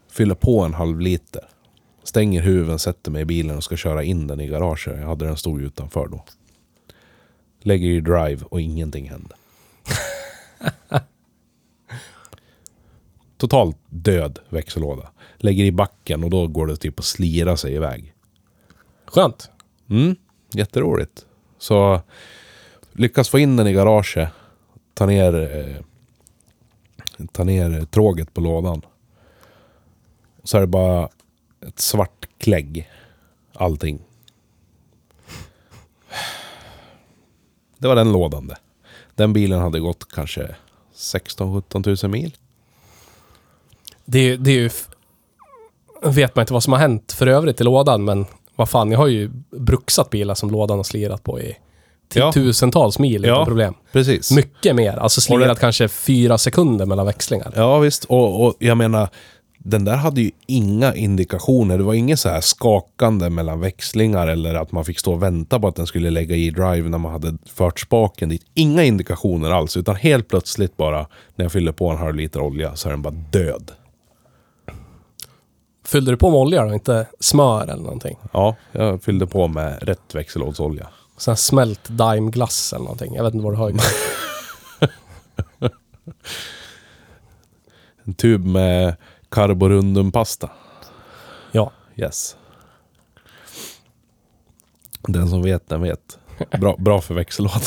Speaker 2: Fyller på en halv liter. Stänger huven, sätter mig i bilen och ska köra in den i garaget. Jag hade den stod utanför då. Lägger i drive och ingenting händer. Totalt död växellåda. Lägger i backen och då går det typ att slira sig iväg.
Speaker 1: Skönt.
Speaker 2: Mm, jätteroligt. Så lyckas få in den i garaget. Ta ner, eh, ta ner tråget på lådan. Så är det bara ett svart klägg. Allting. Det var den lådan det. Den bilen hade gått kanske 16-17 000 mil.
Speaker 1: Det är, ju- det är ju... f- vet man inte vad som har hänt för övrigt i lådan, men vad fan, jag har ju bruksat bilar som lådan har slirat på i
Speaker 2: Ja.
Speaker 1: tiotusentals mil utan
Speaker 2: Ja.
Speaker 1: problem.
Speaker 2: Precis.
Speaker 1: Mycket mer. Alltså
Speaker 2: Och det-
Speaker 1: slirat kanske fyra sekunder mellan växlingar.
Speaker 2: Ja visst, och, och jag menar, den där hade ju inga indikationer. Det var inget så här skakande mellan växlingar eller att man fick stå och vänta på att den skulle lägga i drive när man hade fört spaken dit. Inga indikationer alls, utan helt plötsligt bara när jag fyller på en halv liter olja så är den bara död.
Speaker 1: Fyllde du på med olja då, inte smör eller någonting?
Speaker 2: Ja, jag fyllde på med rätt växellådsolja.
Speaker 1: Sån här smält daimglass eller någonting. Jag vet inte vad du har i.
Speaker 2: En tub med carborundumpasta.
Speaker 1: Ja.
Speaker 2: Yes. Den som vet, den vet. Bra, bra för växellådan.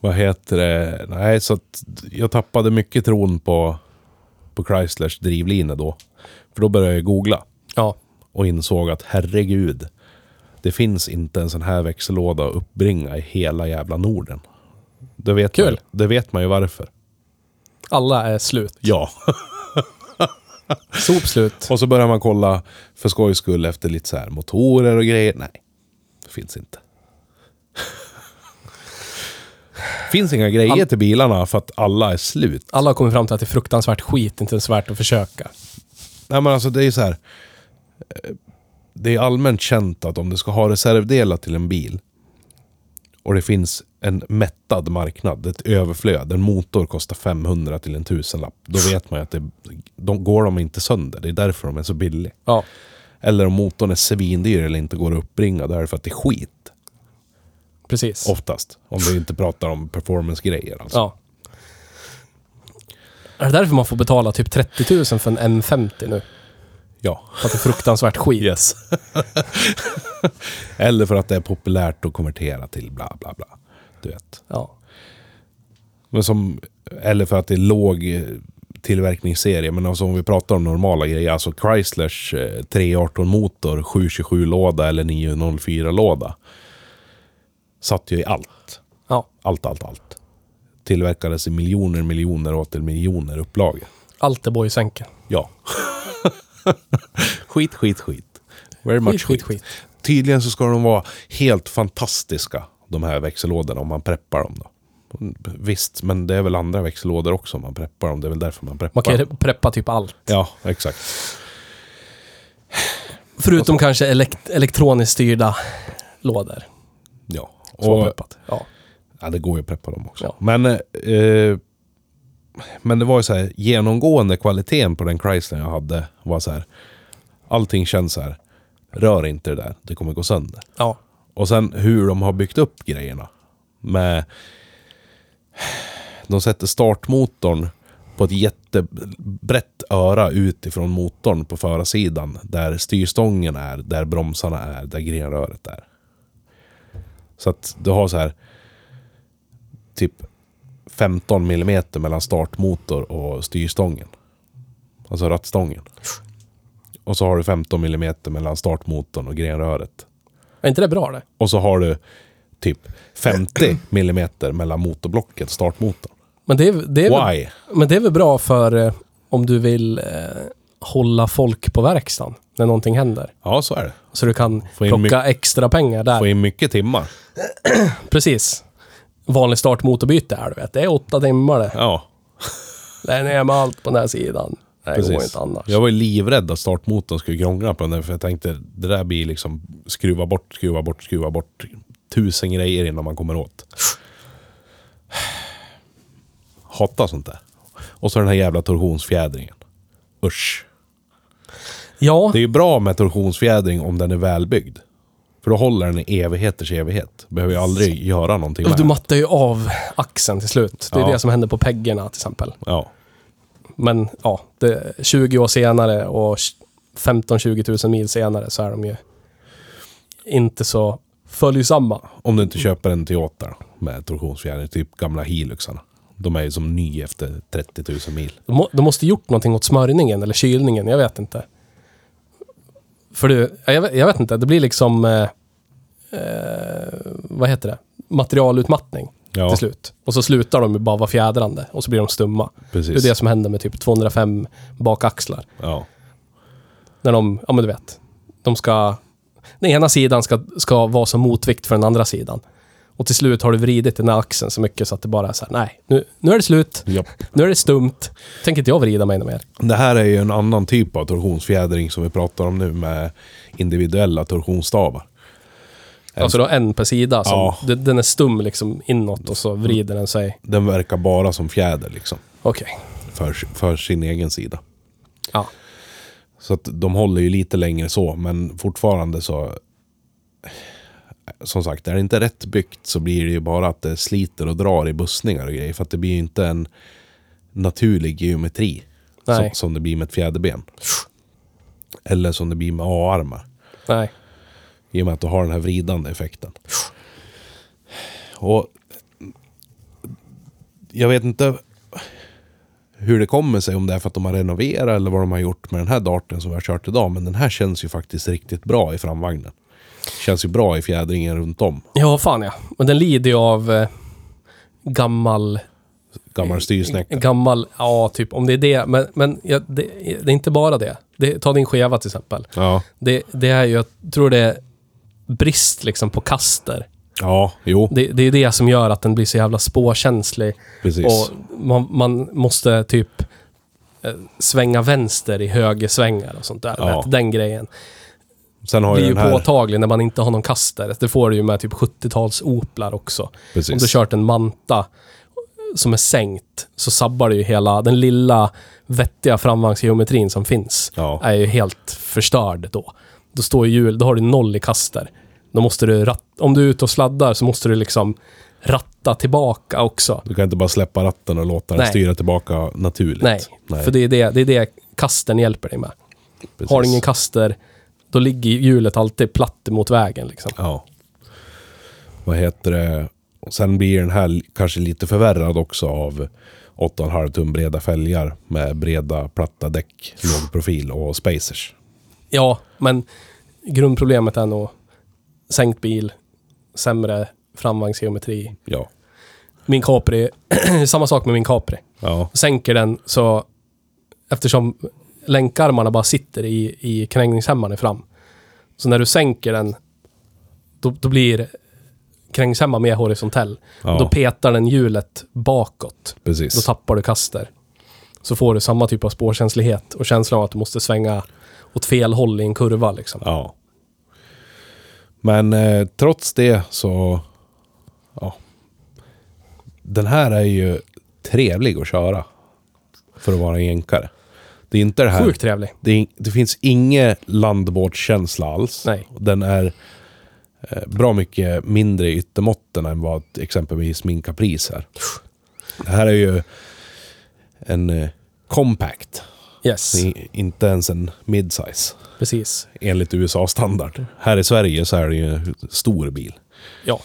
Speaker 2: Vad heter det? Nej, så att jag tappade mycket tron på, på Chryslers drivlina då. För då började jag googla
Speaker 1: Ja.
Speaker 2: och insåg att herregud, det finns inte en sån här växellåda att uppbringa i hela jävla Norden. Det vet, Man,
Speaker 1: Kul.
Speaker 2: det vet man ju varför.
Speaker 1: Alla är slut.
Speaker 2: Ja.
Speaker 1: Sopslut.
Speaker 2: Och så börjar man kolla för skojs skull efter lite så här motorer och grejer. Nej, det finns inte. finns inga grejer till bilarna för att alla är slut.
Speaker 1: Alla har kommit fram till att det är fruktansvärt skit, inte ens värt att försöka.
Speaker 2: Nej men alltså det är ju så här. eh, Det är allmänt känt att om du ska ha reservdelar till en bil och det finns en mättad marknad, ett överflöd, en motor kostar 500 till en tusenlapp. Då vet man ju att det, de, går de inte sönder. Det är därför de är så billiga.
Speaker 1: Ja.
Speaker 2: Eller om motorn är svindyr eller inte går att uppbringa. Då är det för att det är skit.
Speaker 1: Precis.
Speaker 2: Oftast. Om vi inte pratar om performance-grejer. Alltså.
Speaker 1: Ja. Är det därför man får betala typ 30 000 för en M50 nu?
Speaker 2: Ja.
Speaker 1: För att det är fruktansvärt skit.
Speaker 2: Yes. eller för att det är populärt att konvertera till bla bla bla. Du vet.
Speaker 1: Ja.
Speaker 2: Men som, eller för att det är låg eh, tillverkningsserie. Men alltså om vi pratar om normala grejer. Alltså Chryslers eh, 318 motor, 727-låda eller 904-låda. Satt ju i allt.
Speaker 1: ja.
Speaker 2: Allt, allt, allt. Tillverkades i miljoner, miljoner och åter miljoner upplagor.
Speaker 1: Allt är boysänken.
Speaker 2: Ja. skit, skit, skit. Very much
Speaker 1: Skit,
Speaker 2: skit,
Speaker 1: skit, skit.
Speaker 2: Tydligen så ska de vara helt fantastiska, de här växellådorna, om man preppar dem då. Visst, men det är väl andra växellådor också om man preppar dem. Det är väl därför man preppar
Speaker 1: Man kan ju
Speaker 2: dem.
Speaker 1: preppa typ allt.
Speaker 2: Ja, exakt.
Speaker 1: Förutom kanske elekt- elektroniskt styrda lådor.
Speaker 2: Ja.
Speaker 1: Som
Speaker 2: Och-
Speaker 1: har preppat. Ja.
Speaker 2: Ja, det går ju att preppa dem också.
Speaker 1: Ja.
Speaker 2: Men, eh, eh, men det var ju så här, genomgående kvaliteten på den Chrysler jag hade var så här. Allting känns så här, rör inte det där, det kommer gå sönder.
Speaker 1: ja.
Speaker 2: Och sen hur de har byggt upp grejerna. Med, de sätter startmotorn på ett jättebrett öra ut ifrån motorn på förarsidan. Där styrstången är, där bromsarna är, där grenröret är. Så att du har så här typ 15 millimeter mellan startmotor och styrstången. Alltså rattstången. Och så har du 15 millimeter mellan startmotorn och grenröret.
Speaker 1: Är inte det bra det?
Speaker 2: Och så har du typ 50 millimeter mellan motorblocket och startmotorn.
Speaker 1: Men det är, det är, väl,
Speaker 2: Why?
Speaker 1: men det är väl bra för eh, om du vill eh, hålla folk på verkstaden när någonting händer.
Speaker 2: Ja, så är det.
Speaker 1: Så du kan
Speaker 2: Få in
Speaker 1: plocka extra pengar där.
Speaker 2: Få in mycket timmar.
Speaker 1: Precis. Vanlig startmotorbyte är du vet. Det är åtta timmar det.
Speaker 2: Ja,
Speaker 1: Lägg ner med allt på den här sidan. Det här går
Speaker 2: precis.
Speaker 1: inte annars.
Speaker 2: Jag var ju livrädd att startmotorn skulle krångla på den där, för jag tänkte det där blir liksom skruva bort, skruva bort, skruva bort tusen grejer innan man kommer åt. Hatar sånt där. Och så den här jävla torsionsfjädringen. Usch.
Speaker 1: Ja,
Speaker 2: Det är ju bra med torsionsfjädring om den är välbyggd. För då håller den i evigheters evighet. Behöver ju aldrig göra någonting med
Speaker 1: Alltså, du
Speaker 2: den.
Speaker 1: mattar ju av axeln till slut. Det är
Speaker 2: Ja.
Speaker 1: det som händer på peggarna till exempel.
Speaker 2: Ja.
Speaker 1: Men ja, det, 20 år senare och 15-20 000 mil senare så är de ju inte så följsamma.
Speaker 2: Om du inte köper en Toyota med torsionsfjädring, typ gamla Hiluxarna. De är ju som ny efter 30 000 mil.
Speaker 1: De, må, de måste gjort någonting åt smörjningen eller kylningen, jag vet inte. För du, ja, jag, vet- jag vet inte, det blir liksom... Eh, eh, vad heter det? materialutmattning
Speaker 2: Ja.
Speaker 1: till slut. Och så slutar de med bara vara fjädrande och så blir de stumma.
Speaker 2: Precis.
Speaker 1: Det är det som händer med typ 205 bakaxlar.
Speaker 2: Ja.
Speaker 1: När de, ja men du vet. De ska... Den ena sidan ska, ska vara som motvikt för den andra sidan. Och till slut har du vridit den här axeln så mycket så att det bara är så här, nej, nu, nu är det slut.
Speaker 2: Japp.
Speaker 1: Nu är det stumt. Tänker inte jag vrida mig ännu mer.
Speaker 2: Det här är ju en annan typ av torsionsfjädring som vi pratar om nu med individuella torsionsstavar.
Speaker 1: Alltså du har en per sida. Som,
Speaker 2: Ja.
Speaker 1: den, den är stum liksom inåt och så vrider den sig.
Speaker 2: Den verkar bara som fjäder liksom.
Speaker 1: Okej.
Speaker 2: För, för sin egen sida.
Speaker 1: Ja.
Speaker 2: Så att de håller ju lite längre så, men fortfarande så... Som sagt, är det inte rätt byggt så blir det ju bara att det sliter och drar i bussningar och grejer. För att det blir ju inte en naturlig geometri. Som,
Speaker 1: Nej.
Speaker 2: som det blir med ett fjäderben. Eller som det blir med A-armar.
Speaker 1: Nej.
Speaker 2: I och med att du har den här vridande effekten. Och jag vet inte hur det kommer sig, om det är för att de har renoverat eller vad de har gjort med den här darten som vi har kört idag. Men den här känns ju faktiskt riktigt bra i framvagnen. Känns ju bra i fjädringen runt om.
Speaker 1: Ja, fan ja. Men den lider ju av eh, gammal... Eh,
Speaker 2: Gammal styrsnäcka.
Speaker 1: Gammal, ja typ om det är det. Men, men ja, det, det är inte bara det. det. Ta din skeva till exempel.
Speaker 2: Ja.
Speaker 1: Det, det är ju, jag tror det är brist liksom på kaster.
Speaker 2: ja, jo,
Speaker 1: Det, det är det som gör att den blir så jävla spårkänslig.
Speaker 2: precis.
Speaker 1: Och man, man måste typ eh, svänga vänster i högersvängar och sånt där.
Speaker 2: Ja.
Speaker 1: Vet, Den grejen
Speaker 2: Sen har
Speaker 1: blir
Speaker 2: ju
Speaker 1: ju
Speaker 2: den här...
Speaker 1: påtaglig när man inte har någon kaster. Det får du ju med typ 70-tals Oplar också. Om du
Speaker 2: Precis.
Speaker 1: kört en manta som är sänkt så sabbar det ju hela den lilla vettiga framvagnsgeometrin som finns.
Speaker 2: Ja.
Speaker 1: är ju helt förstörd då. Då står ju hjul, då har du noll i kaster. Då måste du rat- om du är ute och sladdar så måste du liksom ratta tillbaka också.
Speaker 2: Du kan inte bara släppa ratten och låta den
Speaker 1: Nej.
Speaker 2: styra tillbaka naturligt.
Speaker 1: Nej, för det är det, det är det kasten hjälper dig med.
Speaker 2: precis.
Speaker 1: Har du ingen kaster, då ligger hjulet alltid platt mot vägen liksom.
Speaker 2: Ja. Vad heter det? Och sen blir den här li- kanske lite förvärrad också av 8,5 tum breda fälgar med breda platta däck, låg profil och spacers.
Speaker 1: Ja, men grundproblemet är nog sänkt bil, sämre framvagnsgeometri.
Speaker 2: Ja.
Speaker 1: Min Capri, samma sak med min Capri.
Speaker 2: Ja.
Speaker 1: Sänker den så, eftersom länkarmarna bara sitter i, i krängningshämmaren fram. Så när du sänker den, då, då blir krängningshämmaren mer horisontell.
Speaker 2: Ja.
Speaker 1: Då petar den hjulet bakåt. Då
Speaker 2: Precis.
Speaker 1: tappar du kaster. Så får du samma typ av spårkänslighet och känslan av att du måste svänga åt fel håll i en kurva. Liksom.
Speaker 2: Ja. Men eh, trots det så... Ja. Den här är ju trevlig att köra. För att vara en jänkare. Det är inte det här...
Speaker 1: Sjukt trevlig.
Speaker 2: Det, är, det finns ingen landbåtskänsla alls.
Speaker 1: Nej.
Speaker 2: Den är eh, bra mycket mindre i yttermåtten än vad exempelvis min Caprice är. Det här är ju en eh, compact.
Speaker 1: Yes,
Speaker 2: I, inte ens en midsize.
Speaker 1: precis.
Speaker 2: Enligt USA-standard. Här i Sverige så är det ju en stor bil.
Speaker 1: Ja.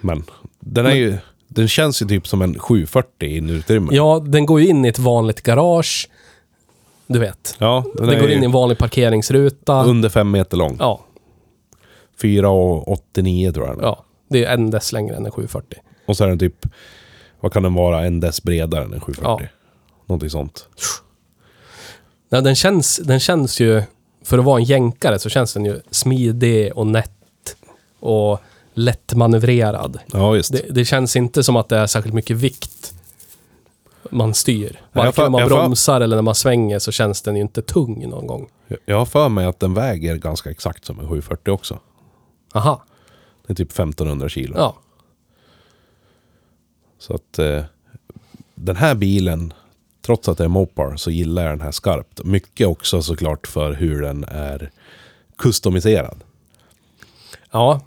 Speaker 2: Men den är ju... Den känns ju typ som en 740 i inutrymme.
Speaker 1: ja, den går ju in i ett vanligt garage. Du vet.
Speaker 2: ja den,
Speaker 1: Den
Speaker 2: är
Speaker 1: går
Speaker 2: ju
Speaker 1: in i en vanlig parkeringsruta.
Speaker 2: under fem meter lång.
Speaker 1: Ja,
Speaker 2: 4,89 tror jag den är.
Speaker 1: ja, det är en dess längre än en 740.
Speaker 2: Och så är den typ, vad kan den vara, en dess bredare än en 740? Någonting sånt.
Speaker 1: Nej, den, känns, den känns ju, för att vara en jänkare så känns den ju smidig och nätt och lättmanövrerad.
Speaker 2: Ja, just.
Speaker 1: Det, det känns inte som att det är särskilt mycket vikt man styr.
Speaker 2: jag
Speaker 1: Varken
Speaker 2: fa-
Speaker 1: när man
Speaker 2: jag fa-
Speaker 1: bromsar eller när man svänger så känns den ju inte tung någon gång.
Speaker 2: Jag har för mig att den väger ganska exakt som en 740 också.
Speaker 1: Aha,
Speaker 2: Det är typ 1500 kilo.
Speaker 1: ja.
Speaker 2: Så att eh, den här bilen, trots att det är Mopar, så gillar jag den här skarpt. Mycket också såklart för hur den är customiserad.
Speaker 1: Ja,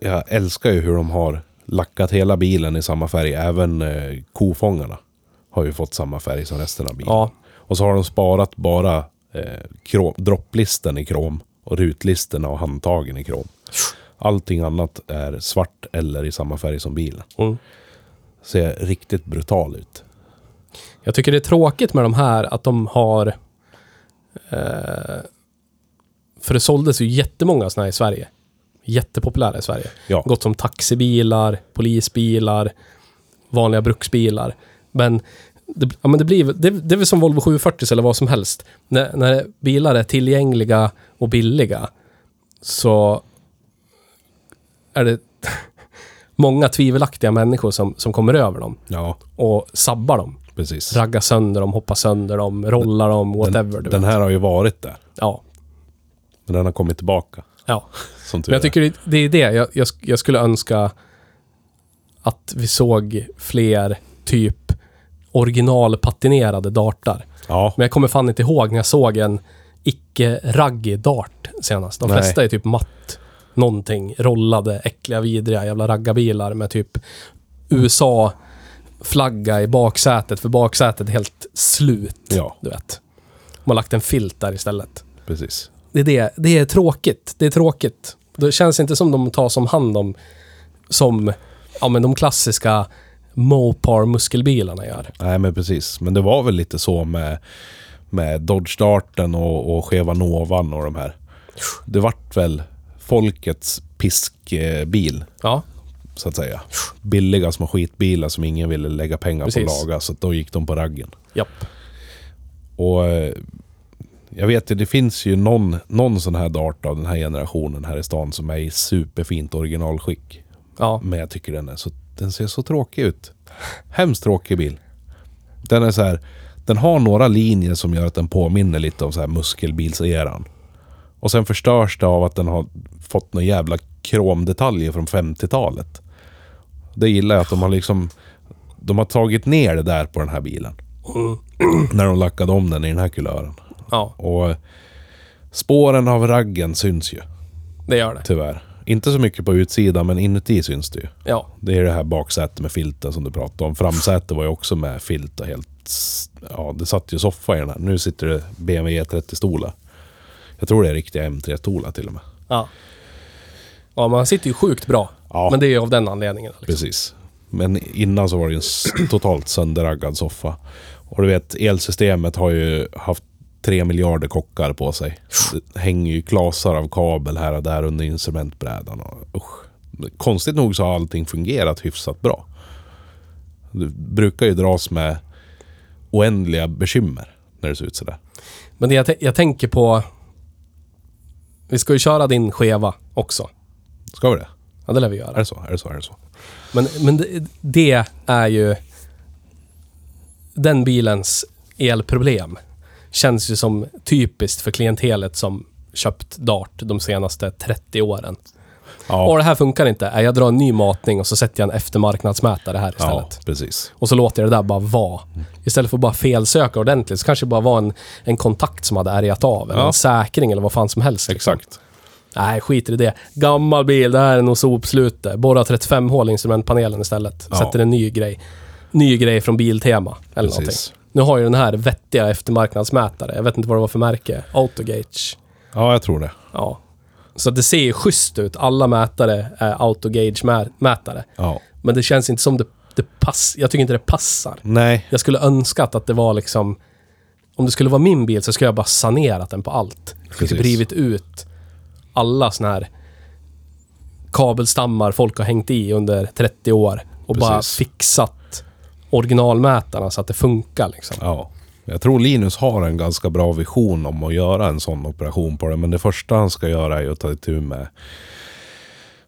Speaker 2: Jag älskar ju hur de har lackat hela bilen i samma färg. Även eh, kofångarna har ju fått samma färg som resten av bilen.
Speaker 1: ja.
Speaker 2: Och så har de sparat bara eh, krom, dropplisten i krom och rutlisterna och handtagen i krom. Allting annat är svart eller i samma färg som bilen.
Speaker 1: Mm.
Speaker 2: Ser riktigt brutal ut.
Speaker 1: Jag tycker det är tråkigt med de här att de har... Eh, för det såldes ju jättemånga såna här i Sverige. jättepopulära i Sverige.
Speaker 2: Ja.
Speaker 1: Gott som taxibilar, polisbilar, vanliga bruksbilar. Men det, ja, men det, blir, det, det är väl som Volvo 740 eller vad som helst. När, när bilar är tillgängliga och billiga så är det många tvivelaktiga människor som, som kommer över dem
Speaker 2: Ja,
Speaker 1: och sabbar dem.
Speaker 2: precis.
Speaker 1: Raggar sönder dem, hoppar sönder dem, rollar dem, whatever. du
Speaker 2: Den
Speaker 1: vet.
Speaker 2: här har ju varit där.
Speaker 1: Ja.
Speaker 2: Men den har kommit tillbaka.
Speaker 1: ja.
Speaker 2: Som tur
Speaker 1: Men jag
Speaker 2: är.
Speaker 1: tycker det, det är det. Jag, jag, sk- jag skulle önska att vi såg fler typ originalpatinerade dartar.
Speaker 2: Ja,
Speaker 1: Men jag kommer fan inte ihåg när jag såg en icke-raggig dart senast. De
Speaker 2: Nej.
Speaker 1: flesta är typ matt någonting, rollade, äckliga, vidriga jävla raggarbilar med typ USA-flagga i baksätet, för baksätet är helt slut.
Speaker 2: ja
Speaker 1: Du vet. De har lagt en filt där istället.
Speaker 2: precis.
Speaker 1: Det är, det. det är tråkigt. Det är tråkigt. Det känns inte som de tar som hand om som ja, men de klassiska Mopar muskelbilarna gör.
Speaker 2: Nej, men precis. Men det var väl lite så med, med Dodge Darten och, och Cheva Novan och de här. Det vart väl folkets piskbil,
Speaker 1: Ja,
Speaker 2: så att säga. Billiga små skitbilar som ingen ville lägga pengar på
Speaker 1: Precis.
Speaker 2: att laga, så att då gick de på raggen.
Speaker 1: japp.
Speaker 2: Och eh, jag vet ju, det finns ju någon, någon sån här dart av den här generationen här i stan som är i superfint originalskick.
Speaker 1: Ja,
Speaker 2: Men jag tycker den är så, den ser så tråkig ut. Hemskt tråkig bil. Den är så här, den har några linjer som gör att den påminner lite om så här muskelbilseran. Och sen förstörs det av att den har fått några jävla kromdetaljer från 50-talet. Det gillar jag att de har liksom, de har tagit ner det där på den här bilen. När de lackade om den i den här kulören.
Speaker 1: ja,
Speaker 2: Och spåren av raggen syns ju,
Speaker 1: det gör det.
Speaker 2: tyvärr. Inte så mycket på utsidan, men inuti syns det ju.
Speaker 1: Ja,
Speaker 2: Det är det här baksätet med filten som du pratade om. Framsätet var ju också med filt och helt... s- Ja, det satt ju soffa i den här. Nu sitter det BMW E30-stolar. Jag tror det är riktiga M3-stolar till och med.
Speaker 1: ja. Ja, man sitter ju sjukt bra.
Speaker 2: Ja.
Speaker 1: Men det är ju av den anledningen. Liksom.
Speaker 2: Precis. Men innan så var det ju en s- totalt sönderraggad soffa. Och du vet, elsystemet har ju haft tre miljarder kockar på sig. Det hänger ju klasar av kabel här och där under instrumentbrädan. Och, usch. Konstigt nog så har allting fungerat hyfsat bra. Du brukar ju dras med oändliga bekymmer när det ser ut sådär.
Speaker 1: Men det jag, tän- jag tänker på... Vi ska ju köra din skeva också.
Speaker 2: Ska vi det?
Speaker 1: Ja, det lär vi
Speaker 2: Är
Speaker 1: göra.
Speaker 2: det så? Är det så? Är det så?
Speaker 1: Men, men det, det är ju... Den bilens elproblem känns ju som typiskt för klientelet som köpt Dart de senaste 30 åren.
Speaker 2: Ja,
Speaker 1: Och det här funkar inte. Nej, Jag drar en ny matning och så sätter jag en eftermarknadsmätare här
Speaker 2: ja Mm.
Speaker 1: istället.
Speaker 2: precis.
Speaker 1: Och så låter jag det där bara vara. Istället för att bara felsöka ordentligt så kanske det bara var en, en kontakt som hade ärgat av. Eller
Speaker 2: Ja.
Speaker 1: en säkring eller vad fan som helst. liksom.
Speaker 2: Exakt.
Speaker 1: Nej, skiter i det. Gammal bil, det här är nog sopslutet. Borra 35 hål i instrumentpanelen istället.
Speaker 2: Ja.
Speaker 1: Sätter en ny grej. Ny grej från Biltema eller
Speaker 2: Precis.
Speaker 1: någonting. Nu har ju den här vettiga eftermarknadsmätare. Jag vet inte vad det var för märke. Autogage.
Speaker 2: Ja, jag tror det.
Speaker 1: Ja. Så det ser ju schysst ut. Alla mätare är autogage-mätare.
Speaker 2: Ja.
Speaker 1: Men det känns inte som det, det passar. Jag tycker inte det passar.
Speaker 2: Nej,
Speaker 1: Jag skulle önskat att det var liksom... Om det skulle vara min bil så skulle jag bara sanerat den på allt.
Speaker 2: Precis.
Speaker 1: Typ rivit ut alla såna här kabelstammar folk har hängt i under 30 år och bara
Speaker 2: Precis.
Speaker 1: fixat originalmätarna så att det funkar liksom.
Speaker 2: Ja. Jag tror Linus har en ganska bra vision om att göra en sån operation på det. Men det första han ska göra är att ta itu med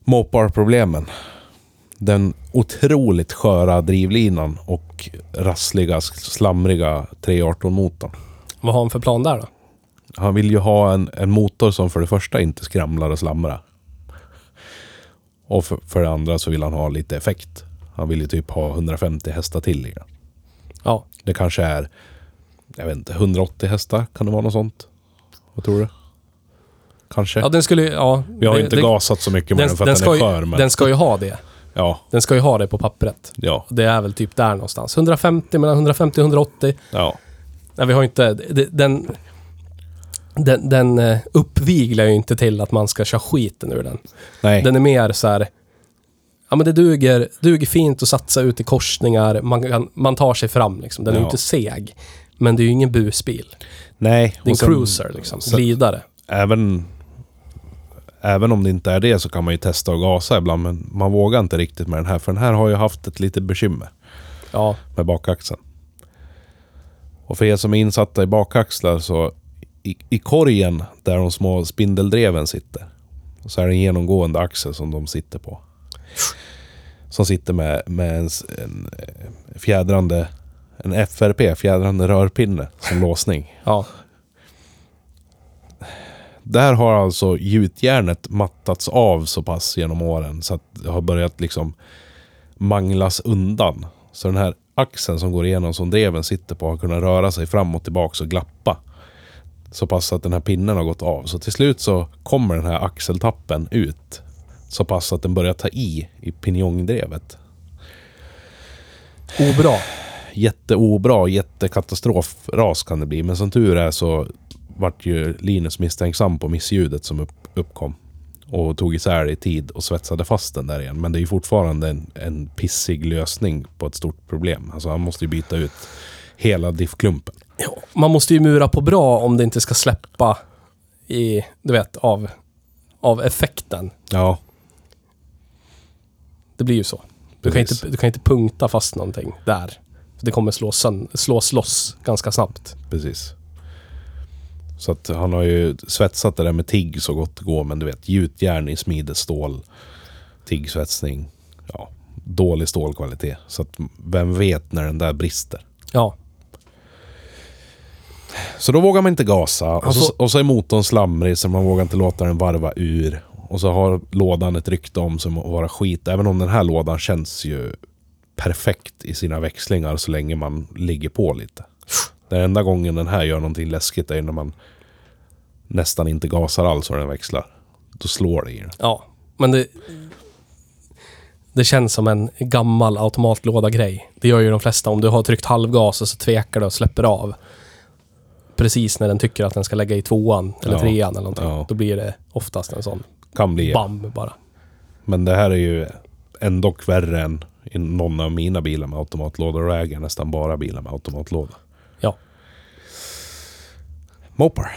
Speaker 2: mopar-problemen. Den otroligt sköra drivlinan och rassliga, slamriga 318-motorn.
Speaker 1: Vad har han för plan där då?
Speaker 2: Han vill ju ha en, en motor som för det första inte skramlar och slamrar. Och för, för det andra så vill han ha lite effekt. Han vill ju typ ha 150 hästar till i den.
Speaker 1: Ja,
Speaker 2: Det kanske är, jag vet inte, 180 hästar? Kan det vara något sånt? Vad tror du? Kanske?
Speaker 1: ja den skulle ju- ja,
Speaker 2: Vi har ju
Speaker 1: det-
Speaker 2: inte
Speaker 1: det-
Speaker 2: gasat så mycket med den, för att den,
Speaker 1: ska
Speaker 2: är skör.
Speaker 1: ju,
Speaker 2: Men,
Speaker 1: den ska ju ha det.
Speaker 2: ja,
Speaker 1: Den ska ju ha det på pappret.
Speaker 2: ja,
Speaker 1: Det är väl typ där någonstans. 150, mellan 150 och 180.
Speaker 2: ja.
Speaker 1: Nej, vi har inte... det- Den, den, den eh, uppviglar ju inte till att man ska köra skiten ur den.
Speaker 2: Nej,
Speaker 1: Den är mer så här... Ja, men det duger, duger fint att satsa ut i korsningar. Man, kan, man tar sig fram liksom. Den är ju
Speaker 2: Ja.
Speaker 1: inte seg. Men det är ju ingen busbil.
Speaker 2: nej.
Speaker 1: Det är en
Speaker 2: och sen
Speaker 1: cruiser liksom.
Speaker 2: sen-
Speaker 1: Glidare.
Speaker 2: Även, även om det inte är det så kan man ju testa och gasa ibland. Men man vågar inte riktigt med den här. För den här har ju haft ett litet bekymmer
Speaker 1: Ja.
Speaker 2: med bakaxeln. Och för er som är insatta i bakaxlar så i, i korgen där de små spindeldreven sitter så är det en genomgående axel som de sitter på. Som sitter med, med en, s- en eh, fjädrande en FRP, fjädrande rörpinne som låsning.
Speaker 1: ja.
Speaker 2: Där har alltså gjutjärnet mattats av så pass genom åren så att det har börjat liksom manglas undan. Så den här axeln som går igenom som dreven sitter på har kunnat röra sig fram och tillbaka och glappa. Så pass att den här pinnen har gått av. Så till slut så kommer den här axeltappen ut. Så pass att den börjar ta i i pinjongdrevet.
Speaker 1: Obra.
Speaker 2: Jätteobra, jättekatastrofras kan det bli. Men som tur är så vart ju Linus misstänksam på missljudet som upp, uppkom. Och tog isär det i tid och svetsade fast den där igen. Men det är ju fortfarande en, en pissig lösning på ett stort problem. Alltså han måste ju byta ut hela diffklumpen.
Speaker 1: Ja, man måste ju mura på bra om det inte ska släppa i, du vet, av, av effekten.
Speaker 2: Ja, Det
Speaker 1: Det blir ju så. Du kan,
Speaker 2: Precis.
Speaker 1: inte, du kan inte punkta fast någonting där. För det kommer slås, sönd- slås loss ganska snabbt.
Speaker 2: precis. Så att han har ju svetsat det där med tigg så gott det går. Men du vet, gjutjärn i smidet stål. Tiggsvetsning. Ja, dålig stålkvalitet. Så att vem vet när den där brister.
Speaker 1: Ja.
Speaker 2: Så då vågar man inte gasa. Och så,
Speaker 1: Alltså-
Speaker 2: och så är motorn slamrig så man vågar inte låta den varva ur. Och så har lådan ett rykte om sig att vara skit. Även om den här lådan känns ju perfekt i sina växlingar så länge man ligger på lite. Den enda gången den här gör någonting läskigt är när man nästan inte gasar alls och den växlar. Då slår det i den.
Speaker 1: Ja. Men det... Det känns som en gammal automatlåda-grej. Det gör ju de flesta. Om du har tryckt halvgas och så tvekar du och släpper av. Precis när den tycker att den ska lägga i tvåan eller
Speaker 2: Ja.
Speaker 1: trean eller någonting.
Speaker 2: Ja.
Speaker 1: Då blir det oftast en sån
Speaker 2: Kan bli.
Speaker 1: bam bara.
Speaker 2: Men det här är ju ändå värre än i någon av mina bilar med automatlådor. Och jag äger nästan bara bilar med automatlåda.
Speaker 1: Ja.
Speaker 2: mopar.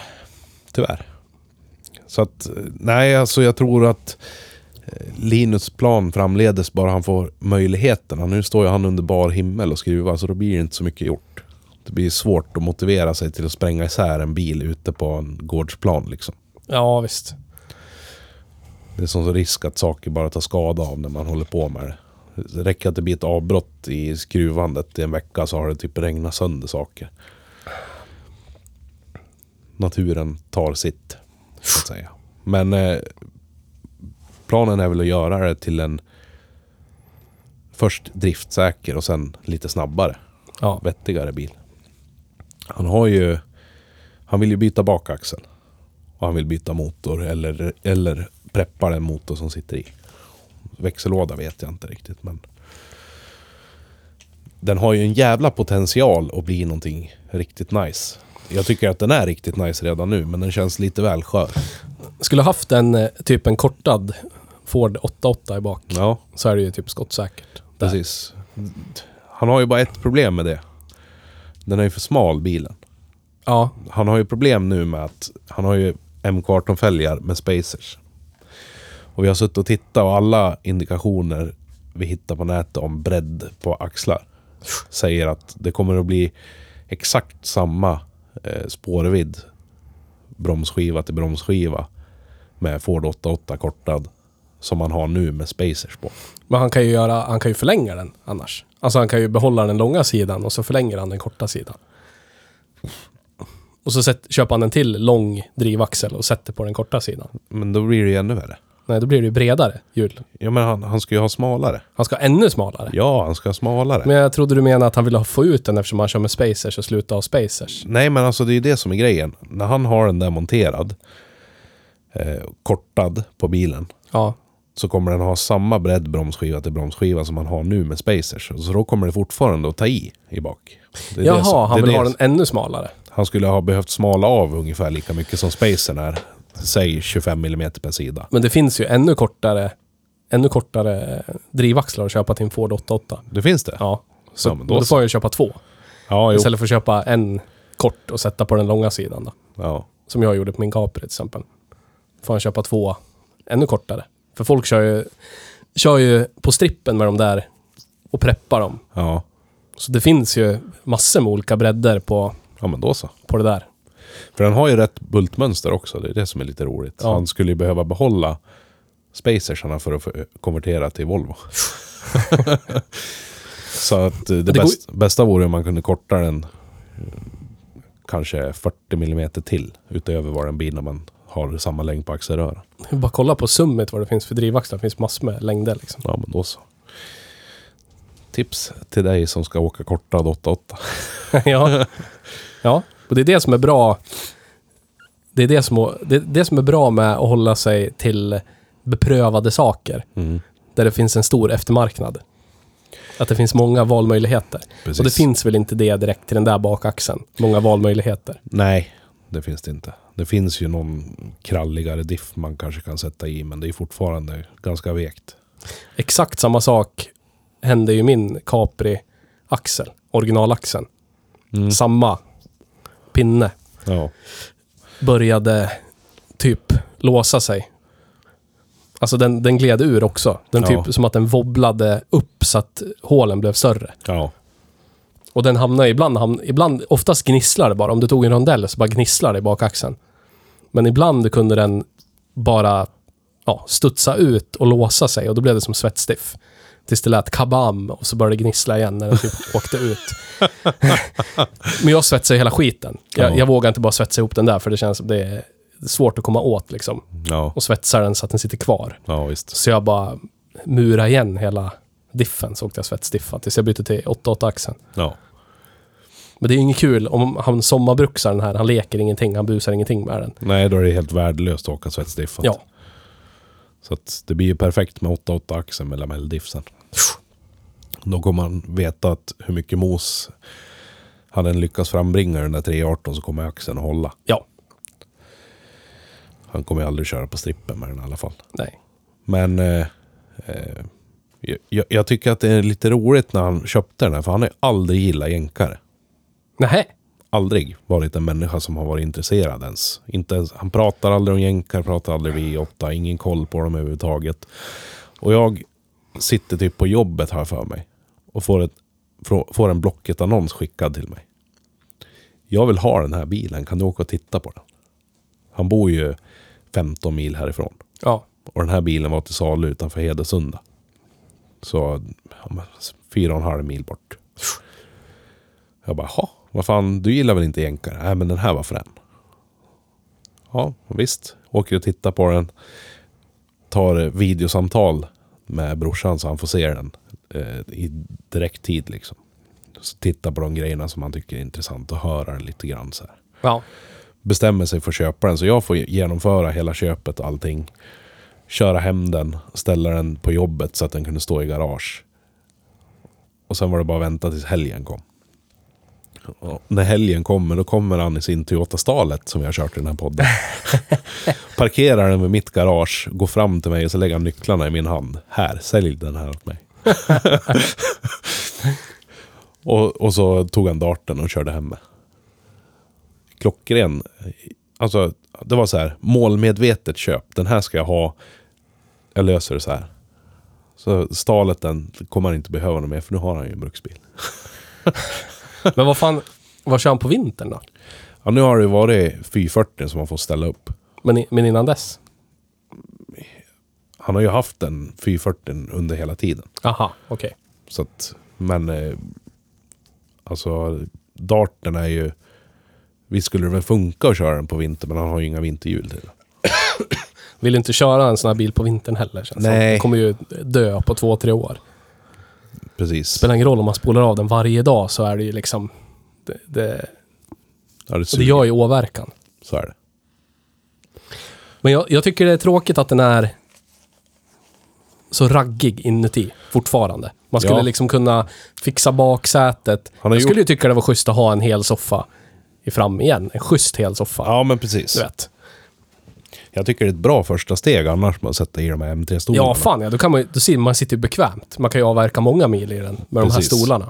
Speaker 2: Tyvärr. Så att, eh, nej alltså jag tror att eh, Linus plan framledes bara han får möjligheterna. Nu står ju han under bar himmel och skruvar så då blir det inte så mycket gjort. Det blir svårt att motivera sig till att spränga isär en bil ute på en gårdsplan liksom.
Speaker 1: Ja, visst.
Speaker 2: Det är sån risk att saker bara tar skada av när man håller på med det. Det räcker att det blir ett avbrott i skruvandet i en vecka så har det typ regnat sönder saker. Naturen tar sitt, så att säga. Men eh, planen är väl att göra det till en först driftsäker och sen lite snabbare,
Speaker 1: Ja.
Speaker 2: vettigare bil. Han har ju... Han vill ju byta bakaxel. Och han vill byta motor eller, eller preppa den motor som sitter i. Växellåda vet jag inte riktigt men... Den har ju en jävla potential att bli någonting riktigt nice. Jag tycker att den är riktigt nice redan nu men den känns lite väl skör.
Speaker 1: Skulle haft en eh, typ en kortad Ford 88 i bak
Speaker 2: Ja,
Speaker 1: så är det ju typ skottsäkert. Där.
Speaker 2: precis. Han har ju bara ett problem med det. Den är ju för smal bilen.
Speaker 1: Ja,
Speaker 2: han har ju problem nu med att han har ju MK18-fälgar med spacers. Och vi har suttit och tittat och alla indikationer vi hittar på nätet om bredd på axlar säger att det kommer att bli exakt samma eh, spårvidd bromsskiva till bromsskiva med Ford 88 kortad som man har nu med spacers på.
Speaker 1: men han kan ju göra, han kan ju förlänga den annars. Alltså han kan ju behålla den långa sidan och så förlänger han den korta sidan. Och så sätt, köper han en till lång drivaxel och sätter på den korta sidan.
Speaker 2: Men då blir det ju ännu värre.
Speaker 1: Nej, då blir det ju bredare hjul.
Speaker 2: Ja men han, han ska ju ha smalare.
Speaker 1: Han ska ha ännu smalare.
Speaker 2: Ja, han ska ha smalare.
Speaker 1: Men jag trodde du menade att han ville ha- få ut den eftersom han kör med spacers och sluta ha spacers.
Speaker 2: Nej, men alltså det är ju det som är grejen. När han har den där monterad, eh, kortad på bilen,
Speaker 1: Ja,
Speaker 2: så kommer den ha samma bredd bromsskiva till bromsskiva som man har nu med spacers. Så då kommer det fortfarande att ta i i bak. Det är det som-
Speaker 1: Jaha,
Speaker 2: det
Speaker 1: han
Speaker 2: är
Speaker 1: vill
Speaker 2: det
Speaker 1: ha den
Speaker 2: som-
Speaker 1: ännu smalare.
Speaker 2: Han skulle ha behövt smala av ungefär lika mycket som spacern är. Säg 25 mm per sida.
Speaker 1: Men det finns ju ännu kortare, ännu kortare drivaxlar att köpa till en Ford 88.
Speaker 2: Det finns det?
Speaker 1: Ja. Så
Speaker 2: Ja, men då
Speaker 1: då,
Speaker 2: så.
Speaker 1: får jag ju köpa två.
Speaker 2: ja jo.
Speaker 1: Istället för att köpa en kort och sätta på den långa sidan då.
Speaker 2: Ja.
Speaker 1: Som jag gjorde på min Capri till exempel. Får jag köpa två ännu kortare. För folk kör ju, kör ju på strippen med de där och preppar dem.
Speaker 2: Ja.
Speaker 1: Så det finns ju massor med olika bredder på,
Speaker 2: ja, men då så.
Speaker 1: på det där.
Speaker 2: För den har ju rätt bultmönster också. Det är det som är lite roligt. Så
Speaker 1: Ja.
Speaker 2: han skulle ju behöva behålla spacersarna för att få konvertera till Volvo. så att eh, det,
Speaker 1: går ju-
Speaker 2: bäst, bästa vore om man kunde korta den eh, kanske 40 mm till utöver vad den blir när man har samma längd på axelrören.
Speaker 1: Bara kolla på Summit vad det finns för drivaxlar. Det finns massor med längder liksom.
Speaker 2: Ja, men då så. Tips till dig som ska åka kortad 88.
Speaker 1: ja. ja, och det är det som är bra. Det är det som, det, det som är bra med att hålla sig till beprövade saker.
Speaker 2: Mm.
Speaker 1: Där det finns en stor eftermarknad. Att det finns många valmöjligheter.
Speaker 2: Precis.
Speaker 1: Och det finns väl inte det direkt till den där bakaxeln. Många valmöjligheter.
Speaker 2: Nej, det finns det inte. Det finns ju någon kralligare diff man kanske kan sätta i, men det är fortfarande ganska vekt.
Speaker 1: Exakt samma sak hände ju i min Capri-axel. Originalaxeln. Mm.
Speaker 2: Mm.
Speaker 1: Samma pinne.
Speaker 2: Ja.
Speaker 1: började typ låsa sig. Alltså den, den gled ur också. Den
Speaker 2: Ja.
Speaker 1: typ som att den wobblade upp så att hålen blev större.
Speaker 2: ja.
Speaker 1: Och den hamnade ibland, hamn, ibland oftast gnisslar det bara. Om du tog en rondell så bara gnisslar det i bakaxeln. Men ibland kunde den bara ja, studsa ut och låsa sig och då blev det som svettstiff. Tills det lät kabam och så började det gnissla igen när den typ åkte ut. Men jag svetsade hela skiten. Jag,
Speaker 2: Ja.
Speaker 1: jag vågar inte bara svetsa ihop den där för det känns som det är svårt att komma åt liksom.
Speaker 2: Ja.
Speaker 1: Och svetsar den så att den sitter kvar.
Speaker 2: ja, visst.
Speaker 1: Så jag bara murade igen hela diffen så åkte jag svetsdiffa tills jag bytte till 8-8 axeln.
Speaker 2: Ja.
Speaker 1: Men det är ju inget kul om han sommarbruksar den här. Han leker ingenting, han busar ingenting med den.
Speaker 2: Nej, då är det helt värdelöst att åka svetsdiffat.
Speaker 1: Ja,
Speaker 2: Så att det blir ju perfekt med 8-8 axeln med lamelldiffsen. Då kommer man veta att hur mycket mos hade den lyckats frambringa den där 318 så kommer axeln att hålla.
Speaker 1: ja,
Speaker 2: Han kommer ju aldrig köra på strippen med den i alla fall.
Speaker 1: nej.
Speaker 2: Men eh, eh, jag, jag tycker att det är lite roligt när han köpte den här, för han har ju aldrig gillat jänkare.
Speaker 1: Nähä.
Speaker 2: Aldrig varit en människa som har varit intresserad ens. Inte ens han pratar aldrig om jänkar, pratar aldrig V8, ingen koll på dem överhuvudtaget. Och jag sitter typ på jobbet här för mig och får, ett, frå- får en Blocket-annons skickad till mig. Jag vill ha den här bilen, kan du åka och titta på den? Han bor ju 15 mil härifrån.
Speaker 1: Ja,
Speaker 2: Och den här bilen var till salu utanför Hedesunda. Så ja, men, fyra och en halv mil bort. Jag bara, jaha, vad fan, du gillar väl inte jänkare? Nej, men den här var frän. Ja, visst. Åker och tittar på den. Tar eh, videosamtal med brorsan så han får se den eh, i direkttid liksom. Så tittar på de grejerna som han tycker är intressant och höra den lite grann så här
Speaker 1: ja,
Speaker 2: bestämmer sig för att köpa den. Så jag får genomföra hela köpet och allting. Köra hem den, ställa den på jobbet så att den kunde stå i garage. Och sen var det bara att vänta tills helgen kom. Och när helgen kommer, då kommer han i sin Toyota Stalet som jag har kört i den här podden. Parkerar den vid mitt garage, går fram till mig och så lägger han nycklarna i min hand. Här, sälj den här åt mig. och, och så tog han darten och körde hem med klockren. Alltså, det var så här, målmedvetet köp. Den här ska jag ha. Jag löser det så här. Så stalet den kommer han inte behöva någon mer, för nu har han ju en bruksbil.
Speaker 1: men vad fan, vad kör han på vintern då?
Speaker 2: Ja, nu har det ju varit 440 som han får ställa upp.
Speaker 1: Men, i- men innan dess?
Speaker 2: Han har ju haft en 440 under hela tiden.
Speaker 1: Aha, okej.
Speaker 2: Så att, men eh, alltså, darten är ju... Visst skulle det väl funka att köra den på vinter, men han har ju inga vinterhjul till den.
Speaker 1: Vill inte köra en sån här bil på vintern heller känns det som.
Speaker 2: Nej.
Speaker 1: Den kommer ju dö på två, tre år.
Speaker 2: Precis.
Speaker 1: Spelar ingen roll om man spolar av den varje dag så är det ju liksom... Det, det,
Speaker 2: Ja, det,
Speaker 1: det
Speaker 2: suger.
Speaker 1: gör ju åverkan.
Speaker 2: Så är det.
Speaker 1: Men jag, jag tycker det är tråkigt att den är så raggig inuti fortfarande. Man skulle
Speaker 2: Ja.
Speaker 1: liksom kunna fixa baksätet.
Speaker 2: Han
Speaker 1: Jag
Speaker 2: har
Speaker 1: skulle ju tycka det var schysst att ha en hel soffa i fram igen. En schysst hel soffa.
Speaker 2: Ja, men precis.
Speaker 1: Du vet.
Speaker 2: Jag tycker det är ett bra första steg annars med att sätta i de här M3-stolarna.
Speaker 1: Ja, fan ja. Då, kan man, ju- då sitter man sitter ju bekvämt. Man kan ju avverka många mil i den med de här
Speaker 2: Precis.
Speaker 1: stolarna.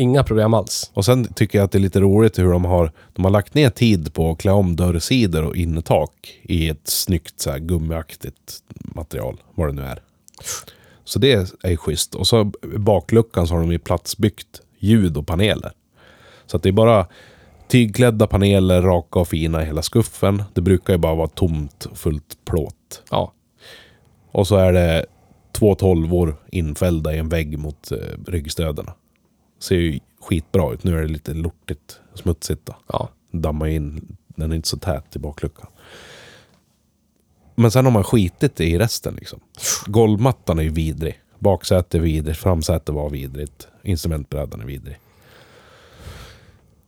Speaker 1: Inga problem alls.
Speaker 2: Och sen tycker jag att det är lite roligt hur de har, de har lagt ner tid på att klä om dörrsidor och innertak i ett snyggt så här, gummiaktigt material, vad det nu är. Så det är schysst. Och så bakluckan så har de ju platsbyggt ljud och paneler. Så att det är bara tygklädda paneler, raka och fina i hela skuffen. Det brukar ju bara vara tomt och fullt plåt.
Speaker 1: Ja.
Speaker 2: Och så är det två tolvor infällda i en vägg mot eh, ryggstöderna. Ser ju skitbra ut. Nu är det lite lortigt, smutsigt då.
Speaker 1: Ja.
Speaker 2: Dammar ju in, den är inte så tät i bakluckan. Men sen har man skitit i resten liksom. Golvmattan är ju vidrig. Baksätet är vidrigt, framsätet var vidrigt. Instrumentbrädan är vidrig.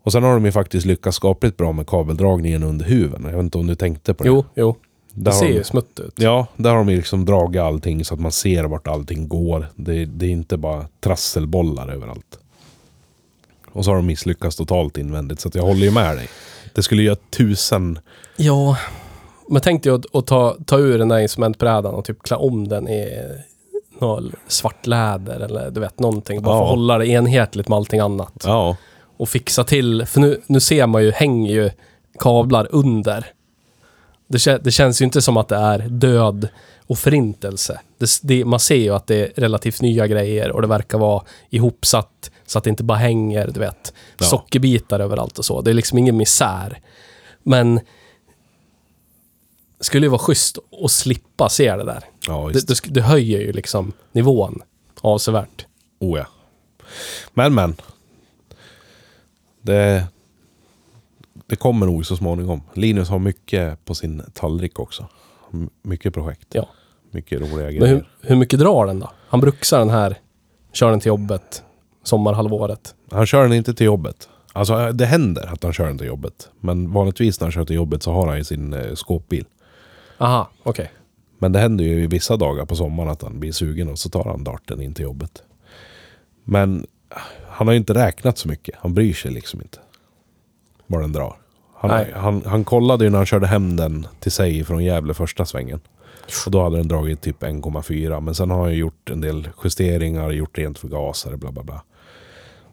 Speaker 2: Och sen har de ju faktiskt lyckats skapligt bra med kabeldragningen under huven. Jag vet inte om du tänkte på det?
Speaker 1: Jo, jo.
Speaker 2: Där
Speaker 1: Det
Speaker 2: har
Speaker 1: ser
Speaker 2: de-
Speaker 1: ju smutt ut.
Speaker 2: Ja, där har de ju liksom dragit allting så att man ser vart allting går. Det, det är inte bara trasselbollar överallt. Och så har de misslyckats totalt invändigt, så att jag håller ju med dig. Det skulle göra tusen...
Speaker 1: Ja. Men tänk dig att, att ta, ta ur den där instrumentbrädan och typ klä om den i något svart läder eller du vet någonting. Bara för
Speaker 2: Ja.
Speaker 1: att hålla det enhetligt med allting annat.
Speaker 2: Ja.
Speaker 1: Och fixa till, för nu, nu ser man ju, hänger ju kablar under. Det, kä- det känns ju inte som att det är död och förintelse. Det, s- det, man ser ju att det är relativt nya grejer och det verkar vara ihopsatt så att det inte bara hänger, du vet,
Speaker 2: Ja.
Speaker 1: sockerbitar överallt och så. Det är liksom ingen misär. Men det skulle ju vara schysst att slippa se det där.
Speaker 2: Ja,
Speaker 1: Det,
Speaker 2: visst.
Speaker 1: det, sk- det höjer ju liksom nivån avsevärt.
Speaker 2: Oh ja. Men, men. Det... Det kommer nog så småningom. Linus har mycket på sin tallrik också. M- mycket projekt.
Speaker 1: Ja.
Speaker 2: Mycket roliga grejer.
Speaker 1: Men hur, hur mycket drar den då? Han bruxar den här, kör den till jobbet, sommarhalvåret.
Speaker 2: Han kör den inte till jobbet. Alltså det händer att han kör den till jobbet. Men vanligtvis när han kör till jobbet så har han ju sin eh, skåpbil.
Speaker 1: Aha, okej.
Speaker 2: Men det händer ju i vissa dagar på sommaren att han blir sugen och så tar han darten in till jobbet. Men eh, han har ju inte räknat så mycket. Han bryr sig liksom inte. Var den drar. Han,
Speaker 1: Nej.
Speaker 2: han, han kollade ju när han körde hem den till sig från Gävle första svängen. Och då hade den dragit typ 1,4. Men sen har han ju gjort en del justeringar, gjort rent förgasare, bla bla bla.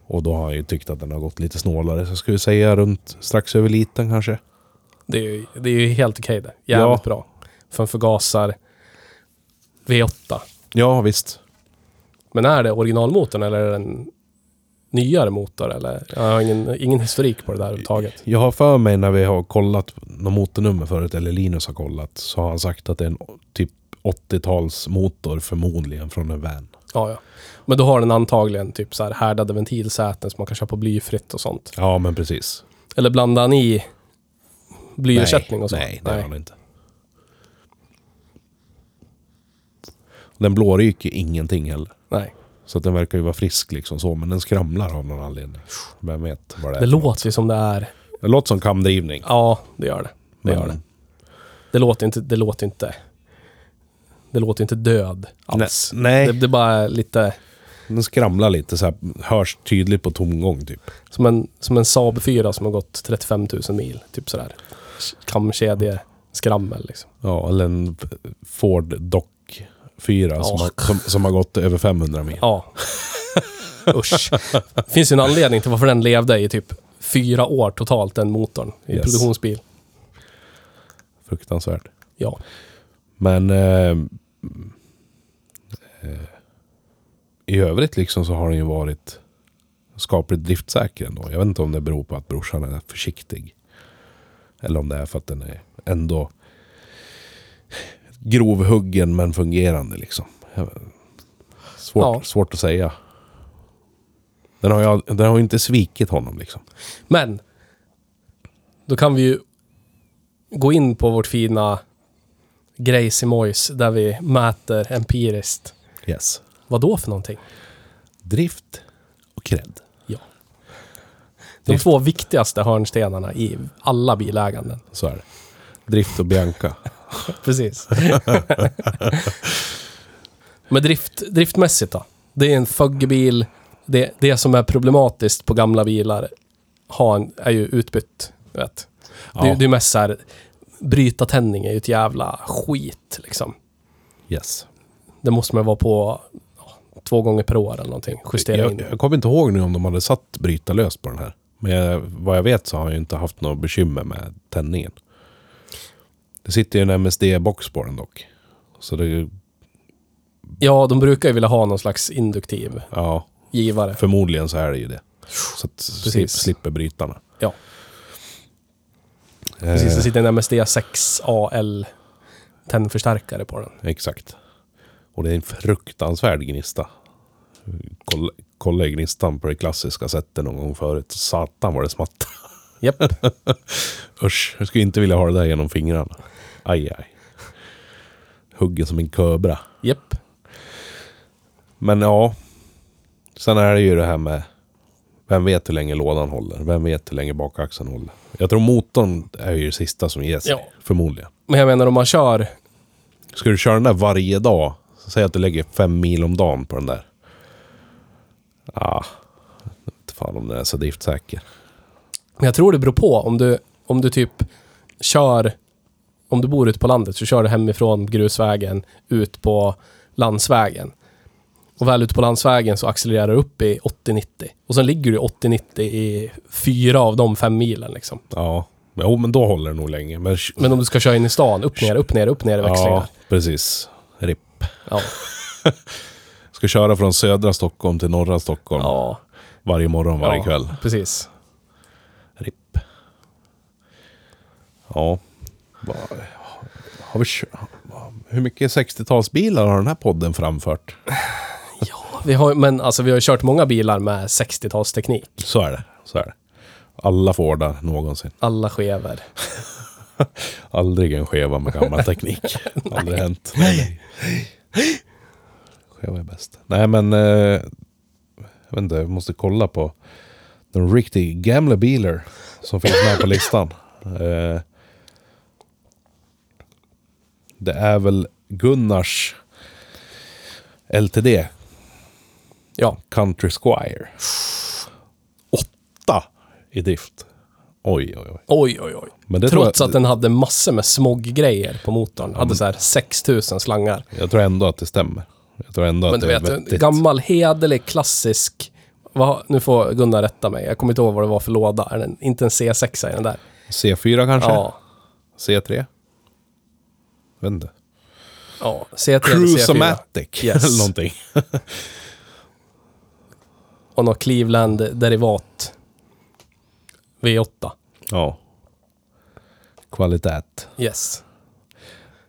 Speaker 2: Och då har han ju tyckt att den har gått lite snålare. Så jag skulle säga runt strax över liten kanske.
Speaker 1: Det, är ju- det är ju helt okej det. Jävligt
Speaker 2: Ja.
Speaker 1: bra. För en förgasar V8.
Speaker 2: Ja, visst.
Speaker 1: Men är det originalmotorn eller är det en nyare motor? Eller? Jag har ingen, ingen historik på det där överhuvudtaget.
Speaker 2: Jag har för mig när vi har kollat något motornummer förut, eller Linus har kollat, så har han sagt att det är en typ 80-talsmotor förmodligen från en van.
Speaker 1: Ja, ja. Men då har den antagligen typ så här härdade ventilsäten som man kan köpa blyfritt och sånt.
Speaker 2: Ja, men precis.
Speaker 1: Eller blandar han i blyersättning och så?
Speaker 2: Nej, det har han inte. Den blå ryker ingenting heller.
Speaker 1: Nej.
Speaker 2: Så att den verkar ju vara frisk liksom så, men den skramlar av någon anledning. Vem vet vad det är.
Speaker 1: Det låter ju som det är
Speaker 2: det låter som kamdrivning.
Speaker 1: Ja, det gör det. Det gör
Speaker 2: Men-
Speaker 1: det. Det låter inte... Det låter inte, det låter inte död alls.
Speaker 2: Nej, nej.
Speaker 1: Det, det är bara lite
Speaker 2: Den skramlar lite så här, hörs tydligt på tomgång typ.
Speaker 1: som en, som en Saab 4 som har gått 35 000 mil. Typ sådär. Kamkedje, skrammel liksom.
Speaker 2: Ja, eller en Ford Dock 4 som,
Speaker 1: Ja.
Speaker 2: har, som, som har gått över 500 mil.
Speaker 1: Ja. Usch. Det finns ju en anledning till varför den levde i typ fyra år totalt, den motorn. I
Speaker 2: Yes.
Speaker 1: produktionsbil.
Speaker 2: Fruktansvärt.
Speaker 1: Ja.
Speaker 2: Men eh, eh, i övrigt liksom så har den ju varit skapligt driftsäker ändå. Jag vet inte om det beror på att brorsan är försiktig. Eller om det är för att den är ändå grovhuggen men fungerande liksom. Jag vet- Svårt,
Speaker 1: Ja.
Speaker 2: svårt att säga. Den har ju den har ju inte svikit honom liksom.
Speaker 1: Men, då kan vi ju gå in på vårt fina grejs i mojs där vi mäter empiriskt.
Speaker 2: Yes.
Speaker 1: Vad då för någonting?
Speaker 2: Drift och cred.
Speaker 1: Ja. De
Speaker 2: Drift.
Speaker 1: två viktigaste hörnstenarna i alla biläganden.
Speaker 2: Så är det. Drift och Bianca.
Speaker 1: Precis. Men drift, driftmässigt då? Det är en fuggebil. Det, det som är problematiskt på gamla bilar har en, är ju utbytt. du Vet.
Speaker 2: Ja,
Speaker 1: Det, det är mest så här, bryta tändning är ju ett jävla skit liksom.
Speaker 2: yes.
Speaker 1: Det måste man vara på ja, två gånger per år eller någonting. Justera in.
Speaker 2: Jag, jag kommer inte ihåg nu om de hade satt bryta lös på den här. Men jag, vad jag vet så har jag ju inte haft något bekymmer med tändningen. Det sitter ju en MSD-box på den dock. Så det,
Speaker 1: Ja, de brukar ju vilja ha någon slags induktiv
Speaker 2: ja,
Speaker 1: givare.
Speaker 2: förmodligen så är det ju det. Så att slip,
Speaker 1: Precis.
Speaker 2: slipper brytarna.
Speaker 1: Ja,
Speaker 2: Eh,
Speaker 1: precis. Det sitter en MSD 6AL tändförstärkare på den.
Speaker 2: Exakt. Och det är en fruktansvärd gnista. Kolla, kolla i gnistan på det klassiska sättet någon gång förut. Satan vad det smattrade.
Speaker 1: Japp.
Speaker 2: Usch, jag skulle inte vilja ha det där genom fingrarna. Aj, aj. Hugger som en kobra.
Speaker 1: Japp.
Speaker 2: Men ja. Sen är det ju det här med... Vem vet hur länge lådan håller? Vem vet hur länge bakaxeln håller? Jag tror motorn är ju det sista som ger sig.
Speaker 1: Ja.
Speaker 2: Förmodligen.
Speaker 1: Men jag menar om man kör...
Speaker 2: Ska du köra den där varje dag? Säg att du lägger fem mil om dagen på den där. Ah, jag vet inte fan om den är så driftsäker.
Speaker 1: Men jag tror det beror på. Om du, om du typ kör... Om du bor ute på landet så kör du hemifrån grusvägen ut på landsvägen. Och väl ute på landsvägen så accelererar du upp i 80-90. Och sen ligger du i 80-90 i fyra av de fem milen liksom.
Speaker 2: Ja, men, jo, men då håller den nog länge. Men,
Speaker 1: Men om du ska köra in i stan, upp ner, upp ner, upp ner i
Speaker 2: ja,
Speaker 1: växlingar.
Speaker 2: precis. RIP.
Speaker 1: Ja.
Speaker 2: Ska köra från södra Stockholm till norra Stockholm
Speaker 1: ja.
Speaker 2: varje morgon, varje
Speaker 1: ja,
Speaker 2: kväll.
Speaker 1: Precis.
Speaker 2: RIP. Ja. Vad- Har vi kö- Hur mycket 60-talsbilar har den här podden framfört?
Speaker 1: Vi har, men alltså, vi har ju kört många bilar med 60-talsteknik.
Speaker 2: Så är det. Så är det. Alla Fordar någonsin.
Speaker 1: Alla skever.
Speaker 2: Aldrig en skeva med gammal teknik. Aldrig hänt. Skeva är bäst. Nej men, eh, jag vet inte, jag måste kolla på den riktig gamla biler som finns med på listan. Eh, det är väl Gunnars LTD,
Speaker 1: Ja.
Speaker 2: Country Squire. Åtta i drift. Oj, oj, oj.
Speaker 1: Oj, oj, oj.
Speaker 2: Men det tror
Speaker 1: Trots
Speaker 2: jag-
Speaker 1: att den hade massor med smoggrejer på motorn.
Speaker 2: Mm.
Speaker 1: Hade så här 6000 slangar.
Speaker 2: Jag tror ändå att det stämmer. Jag tror ändå
Speaker 1: Men
Speaker 2: att
Speaker 1: du
Speaker 2: det är
Speaker 1: vet,
Speaker 2: vettigt.
Speaker 1: gammal hederlig klassisk... Vad, nu får Gunnar rätta mig. Jag kommer inte ihåg vad det var för låda. Är den, inte en C6 är den där.
Speaker 2: C4 kanske?
Speaker 1: Ja.
Speaker 2: C3? Jag vet inte.
Speaker 1: ja. C3 C4.
Speaker 2: Cruisomatic
Speaker 1: Yes.
Speaker 2: eller någonting.
Speaker 1: Och något Cleveland-derivat. V8.
Speaker 2: Ja. Kvalitet.
Speaker 1: Yes.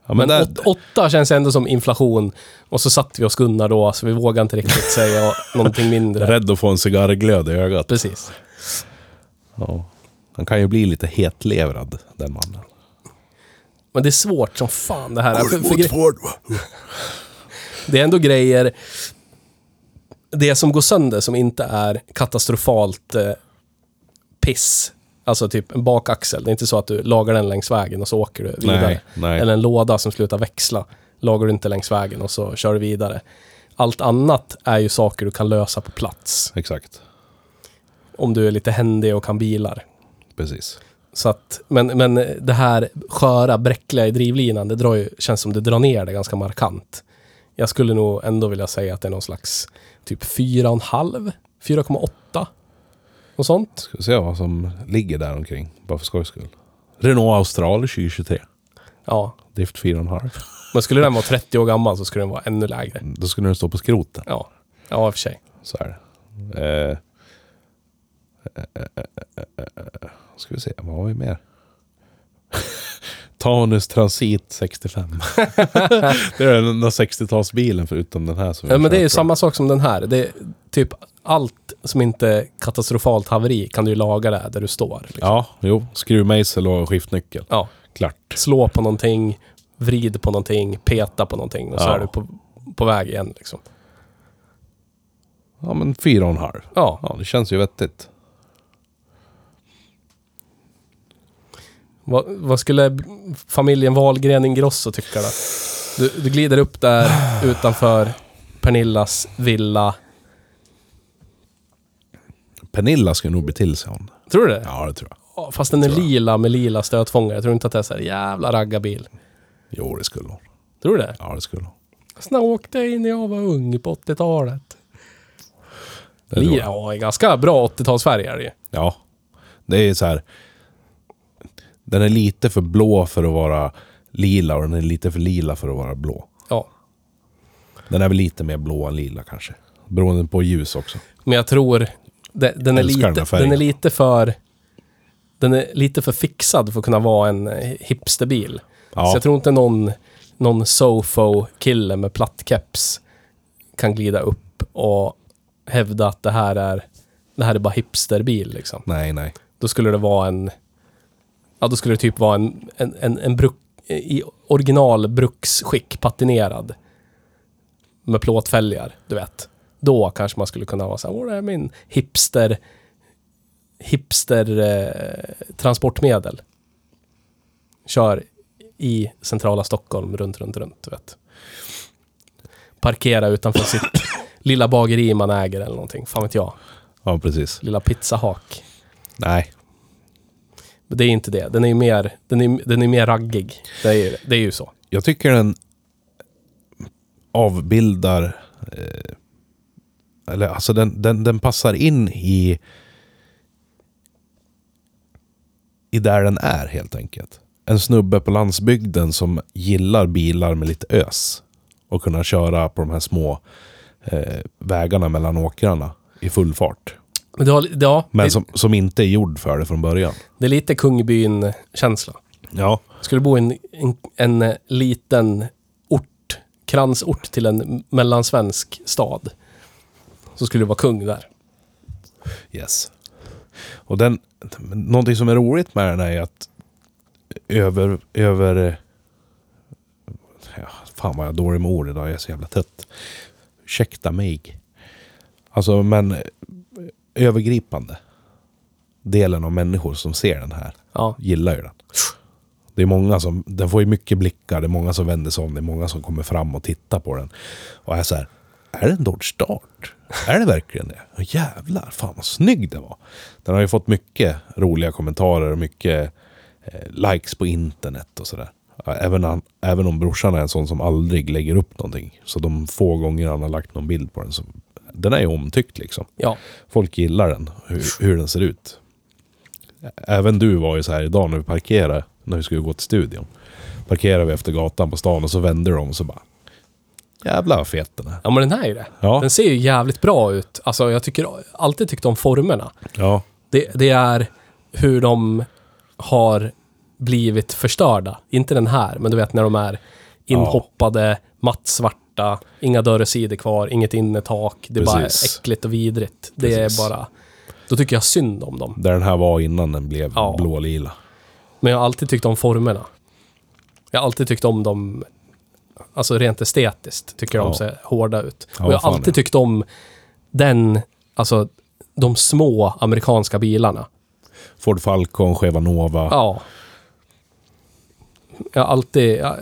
Speaker 2: Ja,
Speaker 1: Men,
Speaker 2: men där,
Speaker 1: åt, åtta känns ändå som inflation. Och så satt vi oss Gunnar då, så vi vågade inte riktigt säga någonting mindre.
Speaker 2: rädd att få en cigarrglöd i ögat.
Speaker 1: Precis.
Speaker 2: Ja. Han kan ju bli lite hetlevrad, den mannen.
Speaker 1: Men det är svårt som fan det här. För, för, gre-
Speaker 2: Ford, va?
Speaker 1: det är ändå grejer... Det som går sönder som inte är katastrofalt eh, piss. Alltså typ en bakaxel. Det är inte så att du lagar den längs vägen och så åker du vidare.
Speaker 2: Nej, nej.
Speaker 1: Eller en låda som slutar växla. Lagar du inte längs vägen och så kör du vidare. Allt annat är ju saker du kan lösa på plats.
Speaker 2: Exakt.
Speaker 1: Om du är lite händig och kan bilar.
Speaker 2: Precis.
Speaker 1: Så att, men, men det här sköra, bräckliga i drivlinan, det drar ju, känns som det drar ner det ganska markant. Jag skulle nog ändå vilja säga att det är någon slags typ 4,5, 4,8. Något sånt.
Speaker 2: Ska vi se vad som ligger där omkring, bara för skojs skull. Renault Austral 2023.
Speaker 1: Ja.
Speaker 2: Drift 4,5.
Speaker 1: Men skulle den vara 30 år gammal så skulle den vara ännu lägre.
Speaker 2: Då skulle den stå på skroten.
Speaker 1: Ja, ja i och för sig.
Speaker 2: Så är det. Eh, eh, eh, eh, eh, eh. ska vi se, vad har vi mer? Tanus Transit 65. det är den där 60-talsbilen förutom den här. Som vi
Speaker 1: Ja, men det är
Speaker 2: kört
Speaker 1: ju
Speaker 2: på.
Speaker 1: samma sak som den här. Det är typ allt som inte är katastrofalt haveri kan du ju laga där, där du står. Liksom.
Speaker 2: Ja, jo. Skruvmejsel och skiftnyckel.
Speaker 1: Ja.
Speaker 2: Klart.
Speaker 1: Slå på någonting, vrid på någonting, peta på någonting och så
Speaker 2: Ja.
Speaker 1: är du på, på väg igen liksom.
Speaker 2: Ja, men fyra och en halv.
Speaker 1: Ja,
Speaker 2: Ja, det känns ju vettigt.
Speaker 1: vad, vad skulle b- familjen Wahlgren Ingrosso tycka då? Du, du glider upp där utanför Pernillas villa.
Speaker 2: Pernilla skulle nog bli till sig hon.
Speaker 1: Tror du det?
Speaker 2: Ja, det tror jag.
Speaker 1: Ja, Fast den är lila med lila stötfångare. Tror du inte att det är så här jävla raggarbil?
Speaker 2: Jo, det skulle hon.
Speaker 1: Tror du det?
Speaker 2: Ja, det skulle hon.
Speaker 1: Såna åkte jag in när jag var ung på 80-talet.
Speaker 2: Det tror jag.
Speaker 1: Ja, en ganska bra 80-talsfärg är det ju.
Speaker 2: Ja. Det är ju så här. Den är lite för blå för att vara lila och den är lite för lila för att vara blå.
Speaker 1: Ja.
Speaker 2: Den är väl lite mer blå än lila kanske. Beroende på ljus också.
Speaker 1: Men jag tror de- den, är
Speaker 2: Älskar den här
Speaker 1: lite,
Speaker 2: färgen.
Speaker 1: den är lite för... Den är lite för fixad för att kunna vara en eh, hipsterbil.
Speaker 2: Ja.
Speaker 1: Så jag tror inte någon, någon sofo-kille med platt keps kan glida upp och hävda att det här är, det här är bara hipsterbil. Liksom.
Speaker 2: Nej, nej.
Speaker 1: Då skulle det vara en... Ja, då skulle det typ vara en, en, en, en bruk, i original bruksskick, patinerad. Med plåtfälgar, du vet. Då kanske man skulle kunna vara så här, åh, det här är min hipster... Hipster eh, transportmedel. Kör i centrala Stockholm, runt, runt, runt, du vet. Parkera utanför sitt lilla bageri man äger eller någonting, fan vet jag.
Speaker 2: Ja, precis.
Speaker 1: Lilla pizzahak.
Speaker 2: Nej.
Speaker 1: Men det är inte det. Den är ju mer, den är, den är mer raggig. Det är, ju- det är ju så.
Speaker 2: Jag tycker den avbildar... Eh, eller alltså den, den, den passar in i... I där den är helt enkelt. En snubbe på landsbygden som gillar bilar med lite ös. Och kunna köra på de här små eh, vägarna mellan åkrarna i full fart.
Speaker 1: Men det, har, ja,
Speaker 2: Men
Speaker 1: det,
Speaker 2: som, som inte är gjord för det från början.
Speaker 1: det är lite Kungbyn-känsla.
Speaker 2: Ja.
Speaker 1: Skulle bo i en, en, en liten ort, kransort till en mellansvensk stad. Så skulle du vara kung där.
Speaker 2: Yes. Och den, någonting som är roligt med den är att över, över... Ja, fan vad jag är dålig med ord idag, jag är så jävla trött. Ursäkta mig. Alltså men övergripande. Delen av människor som ser den här
Speaker 1: Ja.
Speaker 2: gillar ju den. Det är många som, den får ju mycket blickar, det är många som vänder sig om, det är många som kommer fram och tittar på den. Och är så här, är det en Dodge Dart? Är det verkligen det? Åh, jävlar, fan vad snygg den var. Den har ju fått mycket roliga kommentarer och mycket eh, likes på internet och sådär. Ja, Även, han, även om brorsan är en sån som aldrig lägger upp någonting. Så de få gånger han har lagt någon bild på den så den är ju omtyckt liksom.
Speaker 1: Ja.
Speaker 2: Folk gillar den, hur, hur den ser ut. Även du var ju så här idag när vi parkerade, när vi skulle gå till studion. Parkerade vi efter gatan på stan och så vände de och så bara... Jävlar vad fet den är.
Speaker 1: ja, men den här är ju det.
Speaker 2: Ja.
Speaker 1: Den ser ju jävligt bra ut. Alltså, jag tycker alltid tyckt om formerna.
Speaker 2: Ja,
Speaker 1: Det, det är hur de har blivit förstörda. Inte den här, men du vet när de är inhoppade, mattsvarta, inga dörrsidor kvar, inget innertak. Det är bara
Speaker 2: Precis.
Speaker 1: äckligt och vidrigt. Det
Speaker 2: Precis.
Speaker 1: är bara... Då tycker jag synd om dem.
Speaker 2: där den här var innan den blev
Speaker 1: Ja.
Speaker 2: blålila.
Speaker 1: Men jag har alltid tyckt om formerna. Jag har alltid tyckt om dem, alltså rent estetiskt, tycker jag
Speaker 2: Ja.
Speaker 1: de ser hårda ut.
Speaker 2: Ja,
Speaker 1: och jag har
Speaker 2: fan,
Speaker 1: alltid
Speaker 2: ja.
Speaker 1: tyckt om den, alltså de små amerikanska bilarna.
Speaker 2: Ford Falcon, Chevanova.
Speaker 1: Ja. Jag har alltid... Jag,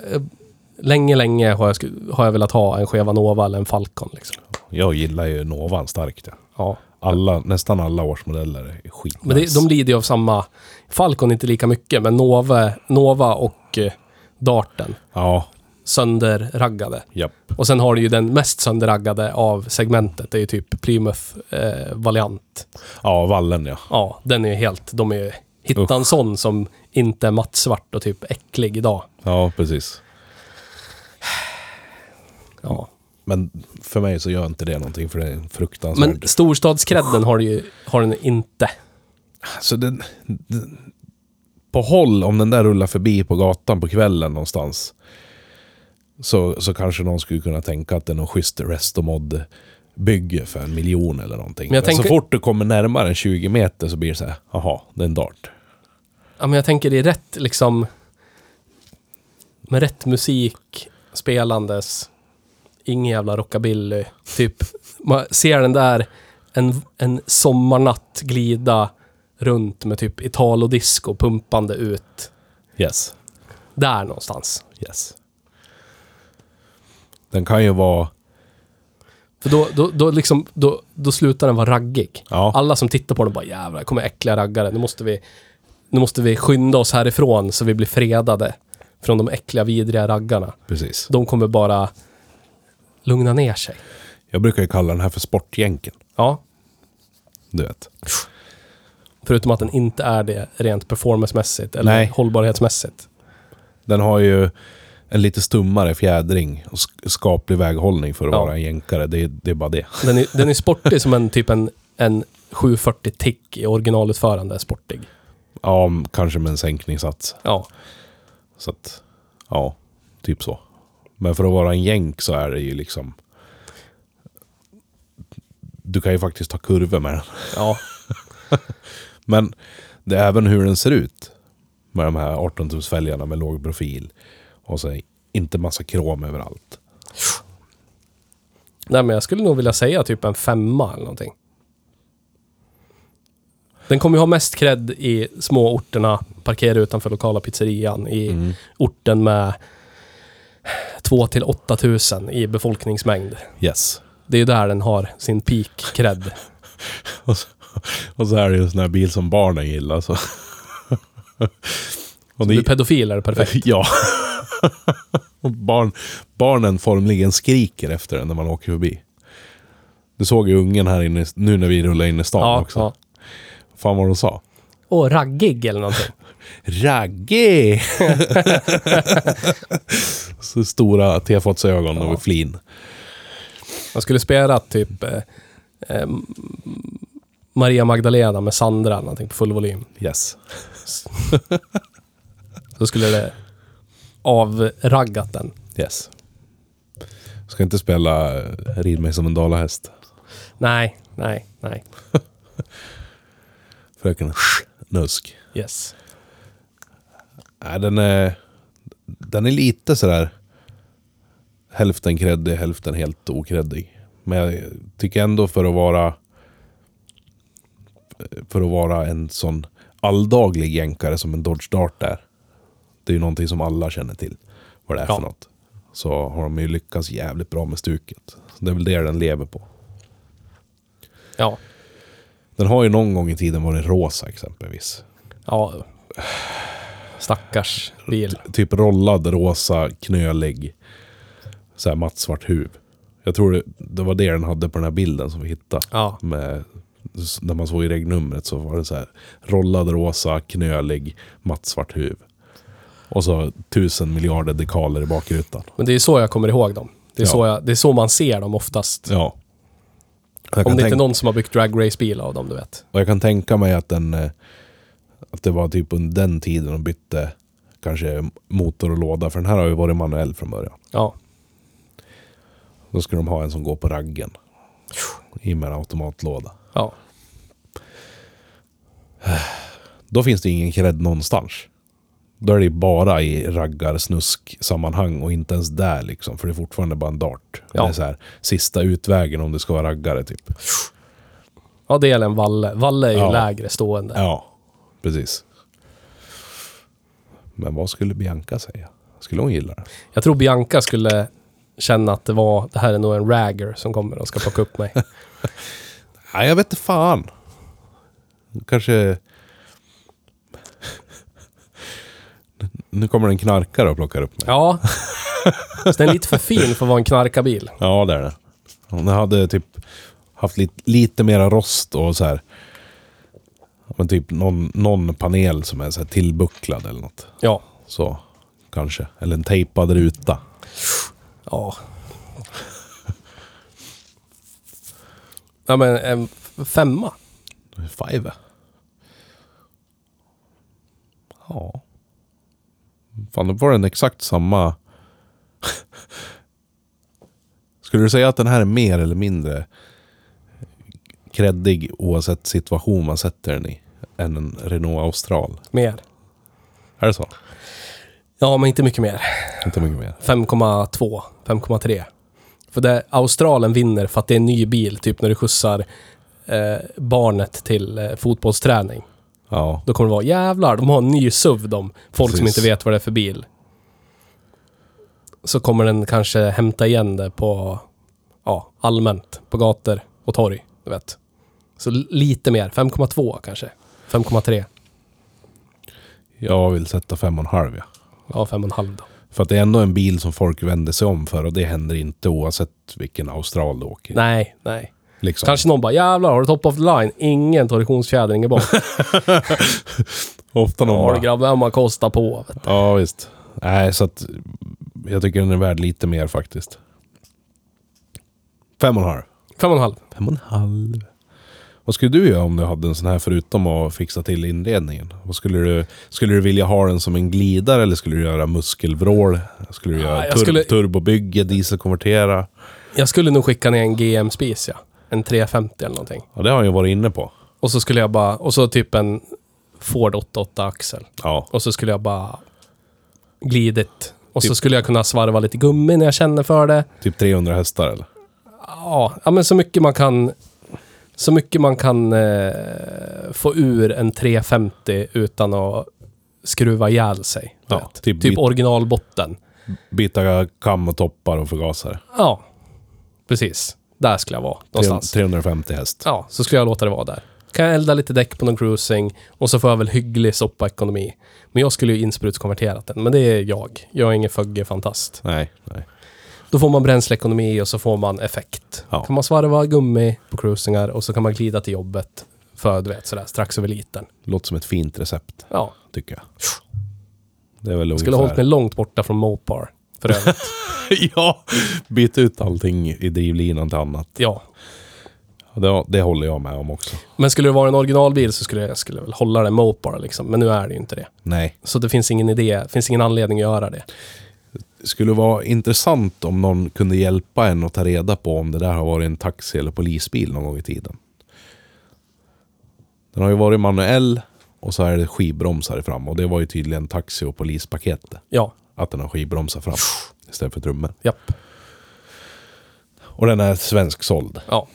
Speaker 1: länge, länge har jag, sku- har jag velat ha en Chevanova eller en Falcon. Liksom.
Speaker 2: Jag gillar ju Novan starkt. Ja.
Speaker 1: Ja.
Speaker 2: Alla, nästan alla årsmodeller är
Speaker 1: Men det,
Speaker 2: skitnice.
Speaker 1: de lider ju av samma... Falcon inte lika mycket, men Nova, Nova och eh, Darten.
Speaker 2: Ja,
Speaker 1: Sönderraggade.
Speaker 2: japp.
Speaker 1: Och sen har du ju den mest sönderraggade av segmentet. Det är ju typ Plymouth eh, Valiant.
Speaker 2: Ja, vallen ja.
Speaker 1: Ja, den är ju helt... De är ju... Hitta en sån som inte är mattsvart och typ äcklig idag.
Speaker 2: Ja, precis.
Speaker 1: Ja.
Speaker 2: Men för mig så gör inte det någonting för det är en fruktansvärd...
Speaker 1: Men storstadskredden har, du ju, har den inte.
Speaker 2: Så den, den, på håll, om den där rullar förbi på gatan på kvällen någonstans. Så, så kanske någon skulle kunna tänka att det är någon schysst restomod bygge för en miljon eller någonting.
Speaker 1: Men
Speaker 2: Men,
Speaker 1: jag
Speaker 2: så
Speaker 1: tänker-
Speaker 2: fort du kommer närmare än 20 meter så blir det så här, jaha, det är en dart.
Speaker 1: Ja, men jag tänker det är rätt liksom... Med rätt musik spelandes. Ingen jävla rockabilly. Typ, man ser den där en, en sommarnatt glida runt med typ Italo-disco pumpande ut.
Speaker 2: Yes.
Speaker 1: Där någonstans.
Speaker 2: Yes. Den kan ju vara...
Speaker 1: För då, då, då, liksom, då, då slutar den vara raggig.
Speaker 2: Ja.
Speaker 1: Alla som tittar på den bara jävlar, det kommer äckliga raggare. Nu måste, vi, nu måste vi skynda oss härifrån så vi blir fredade från de äckliga vidriga raggarna.
Speaker 2: Precis.
Speaker 1: De kommer bara lugna ner sig.
Speaker 2: Jag brukar ju kalla den här för sportjänken.
Speaker 1: Ja,
Speaker 2: Du vet.
Speaker 1: förutom att den inte är det rent performancemässigt eller
Speaker 2: Nej.
Speaker 1: hållbarhetsmässigt.
Speaker 2: Den har ju en lite stummare fjädring och sk- skaplig väghållning för att
Speaker 1: Ja.
Speaker 2: vara en jänkare. Det, är- det är bara det.
Speaker 1: Den är, den är sportig som en typ en, en 740 tick i originalutförande är sportig.
Speaker 2: Ja, m- kanske med en sänkningssats.
Speaker 1: Ja,
Speaker 2: Så att, ja, typ så. Men för att vara en jänk så är det ju liksom... Du kan ju faktiskt ta kurvor med den.
Speaker 1: ja.
Speaker 2: Men det är även hur den ser ut. Med de här 18-tumsfälgarna med låg profil. Och så inte massa krom överallt.
Speaker 1: Nej, men jag skulle nog vilja säga typ en femma eller någonting. Den kommer ju ha mest cred i småorterna, parkera utanför lokala pizzerian, i
Speaker 2: Mm.
Speaker 1: orten med 2 till 8 tusen i befolkningsmängd.
Speaker 2: Yes.
Speaker 1: Det är där den har sin peak cred.
Speaker 2: Och så, och så är det ju en sån här bil som barnen gillar. Så. Och
Speaker 1: Du är
Speaker 2: det,
Speaker 1: pedofil är det perfekt.
Speaker 2: ja. Och barn, barnen formligen skriker efter den när man åker förbi. Du såg ju ungen här inne, nu när vi rullade in i stan
Speaker 1: Ja,
Speaker 2: också.
Speaker 1: ja.
Speaker 2: Fan vad de sa.
Speaker 1: Och raggig eller någonting.
Speaker 2: Ragge! så stora tefatsögon ögon och flin.
Speaker 1: Man skulle spela typ eh, eh, Maria Magdalena med Sandra eller någonting på full volym.
Speaker 2: Yes.
Speaker 1: Så skulle det avraggat den.
Speaker 2: Yes. Ska inte spela eh, Rid mig som en dalahäst.
Speaker 1: Nej, nej, nej.
Speaker 2: Fröken Nusk.
Speaker 1: Yes.
Speaker 2: Nej, den är, den är lite sådär hälften kreddig, hälften helt okreddig. Men jag tycker ändå för att vara för att vara en sån alldaglig jänkare som en Dodge Dart är. Det är ju någonting som alla känner till vad det är
Speaker 1: Ja.
Speaker 2: för något. Så har de ju lyckats jävligt bra med stuket. Så det är väl det den lever på.
Speaker 1: Ja.
Speaker 2: Den har ju någon gång i tiden varit rosa exempelvis.
Speaker 1: Ja. Stackars bil.
Speaker 2: typ rollad, rosa, knölig. Så här mattsvart huv. Jag tror det, det var det den hade på den här bilden som vi hittade.
Speaker 1: Ja.
Speaker 2: Med, s- när man såg i regnumret så var det så här rollad, rosa, knölig, mattsvart huv. Och så tusen miljarder dekaler i bakrutan.
Speaker 1: Men det är så jag kommer ihåg dem. Det är,
Speaker 2: Ja.
Speaker 1: så, jag, det är så man ser dem oftast.
Speaker 2: Ja. Jag
Speaker 1: Om
Speaker 2: kan
Speaker 1: det inte
Speaker 2: tänka-
Speaker 1: är någon som har byggt dragracebil av dem, du vet.
Speaker 2: Och jag kan tänka mig att den... eh, Att det var typ under den tiden de bytte kanske motor och låda. För den här har ju varit manuell från början.
Speaker 1: Ja.
Speaker 2: Då ska de ha en som går på raggen. I med en automatlåda.
Speaker 1: Ja.
Speaker 2: Då finns det ingen cred någonstans. Då är det ju bara i raggarsnusk-sammanhang och inte ens där liksom. För det är fortfarande bara en dart.
Speaker 1: Ja.
Speaker 2: Det är så här, sista utvägen om det ska vara raggare typ.
Speaker 1: Ja, det gäller en Valle. Valle är ju
Speaker 2: Ja.
Speaker 1: lägre stående.
Speaker 2: Ja, precis. Men vad skulle Bianca säga? Skulle hon gilla det?
Speaker 1: Jag tror Bianca skulle känna att det var, det här är nog en ragger som kommer och ska plocka upp mig.
Speaker 2: Nej, jag vet inte fan. Kanske... nu kommer en knarkare och plockar upp mig.
Speaker 1: Ja. Så den är lite för fin för att vara en knarkarbil.
Speaker 2: Ja, det är det. Hon hade typ haft lite, lite mera rost och så här. ja, Men typ någon, någon panel som är så här tillbucklad eller något.
Speaker 1: Ja.
Speaker 2: Så kanske. Eller en tejpad ruta.
Speaker 1: Ja. Ja men en femma.
Speaker 2: Five. Ja. Fan, då var den exakt samma. Skulle du säga att den här är mer eller mindre kreddig oavsett situation man sätter den i? Än en Renault Austral?
Speaker 1: Mer.
Speaker 2: Är det så?
Speaker 1: Ja men inte mycket mer.
Speaker 2: Inte mycket mer.
Speaker 1: 5,2. 5,3. För det, Australien vinner för att det är en ny bil. Typ när du skjutsar eh, barnet till eh, fotbollsträning.
Speaker 2: Ja.
Speaker 1: Då kommer det vara jävlar, de har en ny SUV de. Folk som
Speaker 2: Precis.
Speaker 1: inte vet vad det är för bil. Så kommer den kanske hämta igen det på ja, allmänt, på gator och torg. Du vet. Så l- lite mer, 5,2 kanske. 5,3.
Speaker 2: Jag vill sätta fem och en halv ja.
Speaker 1: Ja, 5,5 då.
Speaker 2: För att det är ändå en bil som folk vänder sig om för och det händer inte oavsett vilken Austral du åker. i,
Speaker 1: Nej, nej.
Speaker 2: Liksom.
Speaker 1: Kanske någon bara, jävlar har du top of the line? Ingen torsionsfjädring i bak.
Speaker 2: Ofta någon
Speaker 1: Ja
Speaker 2: bara,
Speaker 1: du grabbar, man kostar på. vet du.
Speaker 2: Ja, visst. Nej, så att jag tycker den är värd lite mer faktiskt. Fem och en halv.
Speaker 1: Fem och en halv.
Speaker 2: Fem och en halv. Vad skulle du göra om du hade en sån här förutom att fixa till inredningen? Vad skulle, du, skulle du vilja ha den som en glidare eller skulle du göra muskelvrål? Skulle du göra
Speaker 1: jag
Speaker 2: tur-
Speaker 1: skulle-
Speaker 2: turbobygge, dieselkonvertera?
Speaker 1: Jag skulle nog skicka ner en GM-spis, ja. En 350 eller någonting.
Speaker 2: Ja, det har han ju varit inne på.
Speaker 1: Och så skulle jag bara, och så typ en Ford 88 axel.
Speaker 2: Ja,
Speaker 1: Och så skulle jag bara glidit. Och så
Speaker 2: Typ-
Speaker 1: skulle jag kunna svarva lite gummi när jag känner för det.
Speaker 2: typ 300 hästar eller?
Speaker 1: Ja, ja men så mycket man kan... Så mycket man kan eh, få ur en 350 utan att skruva ihjäl sig.
Speaker 2: Ja,
Speaker 1: vet. Typ,
Speaker 2: typ bit-
Speaker 1: originalbotten.
Speaker 2: Byta kam och toppar och förgasare.
Speaker 1: Ja, precis. Där skulle jag vara någonstans.
Speaker 2: 350 häst.
Speaker 1: Ja, så skulle jag låta det vara där. Kan jag elda lite däck på någon cruising och så får jag väl hygglig soppaekonomi. Men jag skulle ju insprutskonverterat den, men det är jag. Jag är ingen fantast.
Speaker 2: Nej, nej.
Speaker 1: Då får man bränsleekonomi och så får man effekt.
Speaker 2: Ja.
Speaker 1: Kan man svarva gummi på cruisingar och så kan man glida till jobbet för, du vet, sådär strax över liten.
Speaker 2: Låter som ett fint recept.
Speaker 1: Ja,
Speaker 2: tycker jag. Det är väl
Speaker 1: skulle ha hållit mig långt borta från Mopar. För övrigt.
Speaker 2: ja, byt ut allting i drivlinan till annat.
Speaker 1: ja.
Speaker 2: Det, det håller jag med om också.
Speaker 1: Men skulle det vara en originalbil så skulle jag skulle jag väl hålla den Mopar liksom. Men nu är det ju inte det.
Speaker 2: Nej.
Speaker 1: Så det finns ingen idé, finns ingen anledning att göra det.
Speaker 2: Det skulle vara intressant om någon kunde hjälpa en att ta reda på om det där har varit en taxi eller polisbil någon gång i tiden. Den har ju varit manuell och så är det skivbromsar i fram och det var ju tydligen taxi och polispaketet.
Speaker 1: Ja,
Speaker 2: Att den har skivbromsar fram istället för trummor.
Speaker 1: japp.
Speaker 2: Och den är svensksåld
Speaker 1: Ja.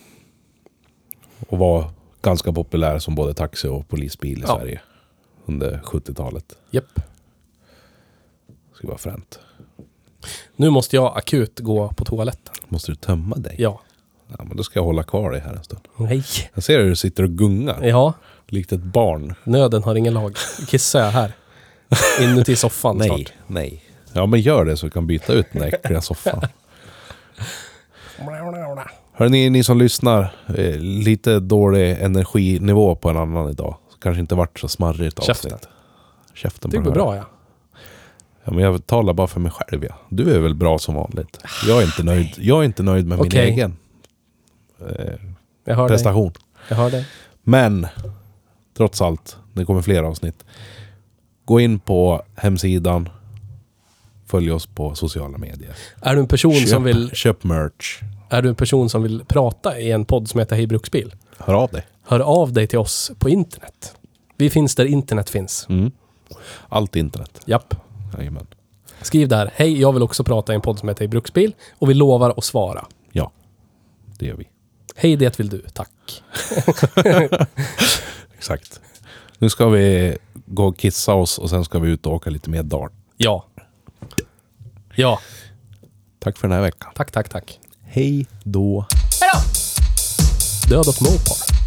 Speaker 2: och var ganska populär som både taxi och polisbil i
Speaker 1: Ja.
Speaker 2: Sverige under 70-talet.
Speaker 1: Japp.
Speaker 2: skulle vara fränt.
Speaker 1: Nu måste jag akut gå på toaletten.
Speaker 2: Måste du tömma dig?
Speaker 1: Ja.
Speaker 2: ja. men då ska jag hålla kvar dig här en stund.
Speaker 1: Nej.
Speaker 2: Jag ser hur du sitter och gungar.
Speaker 1: Ja,
Speaker 2: Likt ett barn.
Speaker 1: nöden har ingen lag. Kissar jag här? Inuti soffan snart.
Speaker 2: nej. Ja, men gör det så vi kan byta ut den där äckliga soffan. Hör ni, ni som lyssnar. Eh, lite dålig energinivå på en annan idag. Så kanske inte vart så smarrigt avsnitt.
Speaker 1: Käften.
Speaker 2: Käften på
Speaker 1: Det går
Speaker 2: den här.
Speaker 1: bra ja.
Speaker 2: Ja, men jag talar bara för mig själv. Ja. Du är väl bra som vanligt. Jag är inte nöjd. Jag är inte nöjd med
Speaker 1: Okej.
Speaker 2: min egen eh,
Speaker 1: Jag hör dig.
Speaker 2: prestation.
Speaker 1: Jag hör dig.
Speaker 2: Men trots allt, det kommer fler avsnitt. Gå in på hemsidan. Följ oss på sociala medier.
Speaker 1: Är du en person som vill...
Speaker 2: köp merch.
Speaker 1: Är du en person som vill prata i en podd som heter Hej Bruksbil?
Speaker 2: Hör av dig.
Speaker 1: Hör av dig till oss på internet. Vi finns där internet finns.
Speaker 2: Mm. Allt internet.
Speaker 1: Japp.
Speaker 2: Jajamän.
Speaker 1: Skriv där. Hej, jag vill också prata i en podd som heter Hej Bruksbil. Och vi lovar att svara.
Speaker 2: Ja, det gör vi.
Speaker 1: Hej, det vill du. Tack.
Speaker 2: Exakt. Nu ska vi gå och kissa oss och sen ska vi ut och åka lite mer dart.
Speaker 1: Ja. Ja.
Speaker 2: Tack för den här veckan.
Speaker 1: Tack, tack, tack.
Speaker 2: Hej då.
Speaker 1: Död åt Mopar.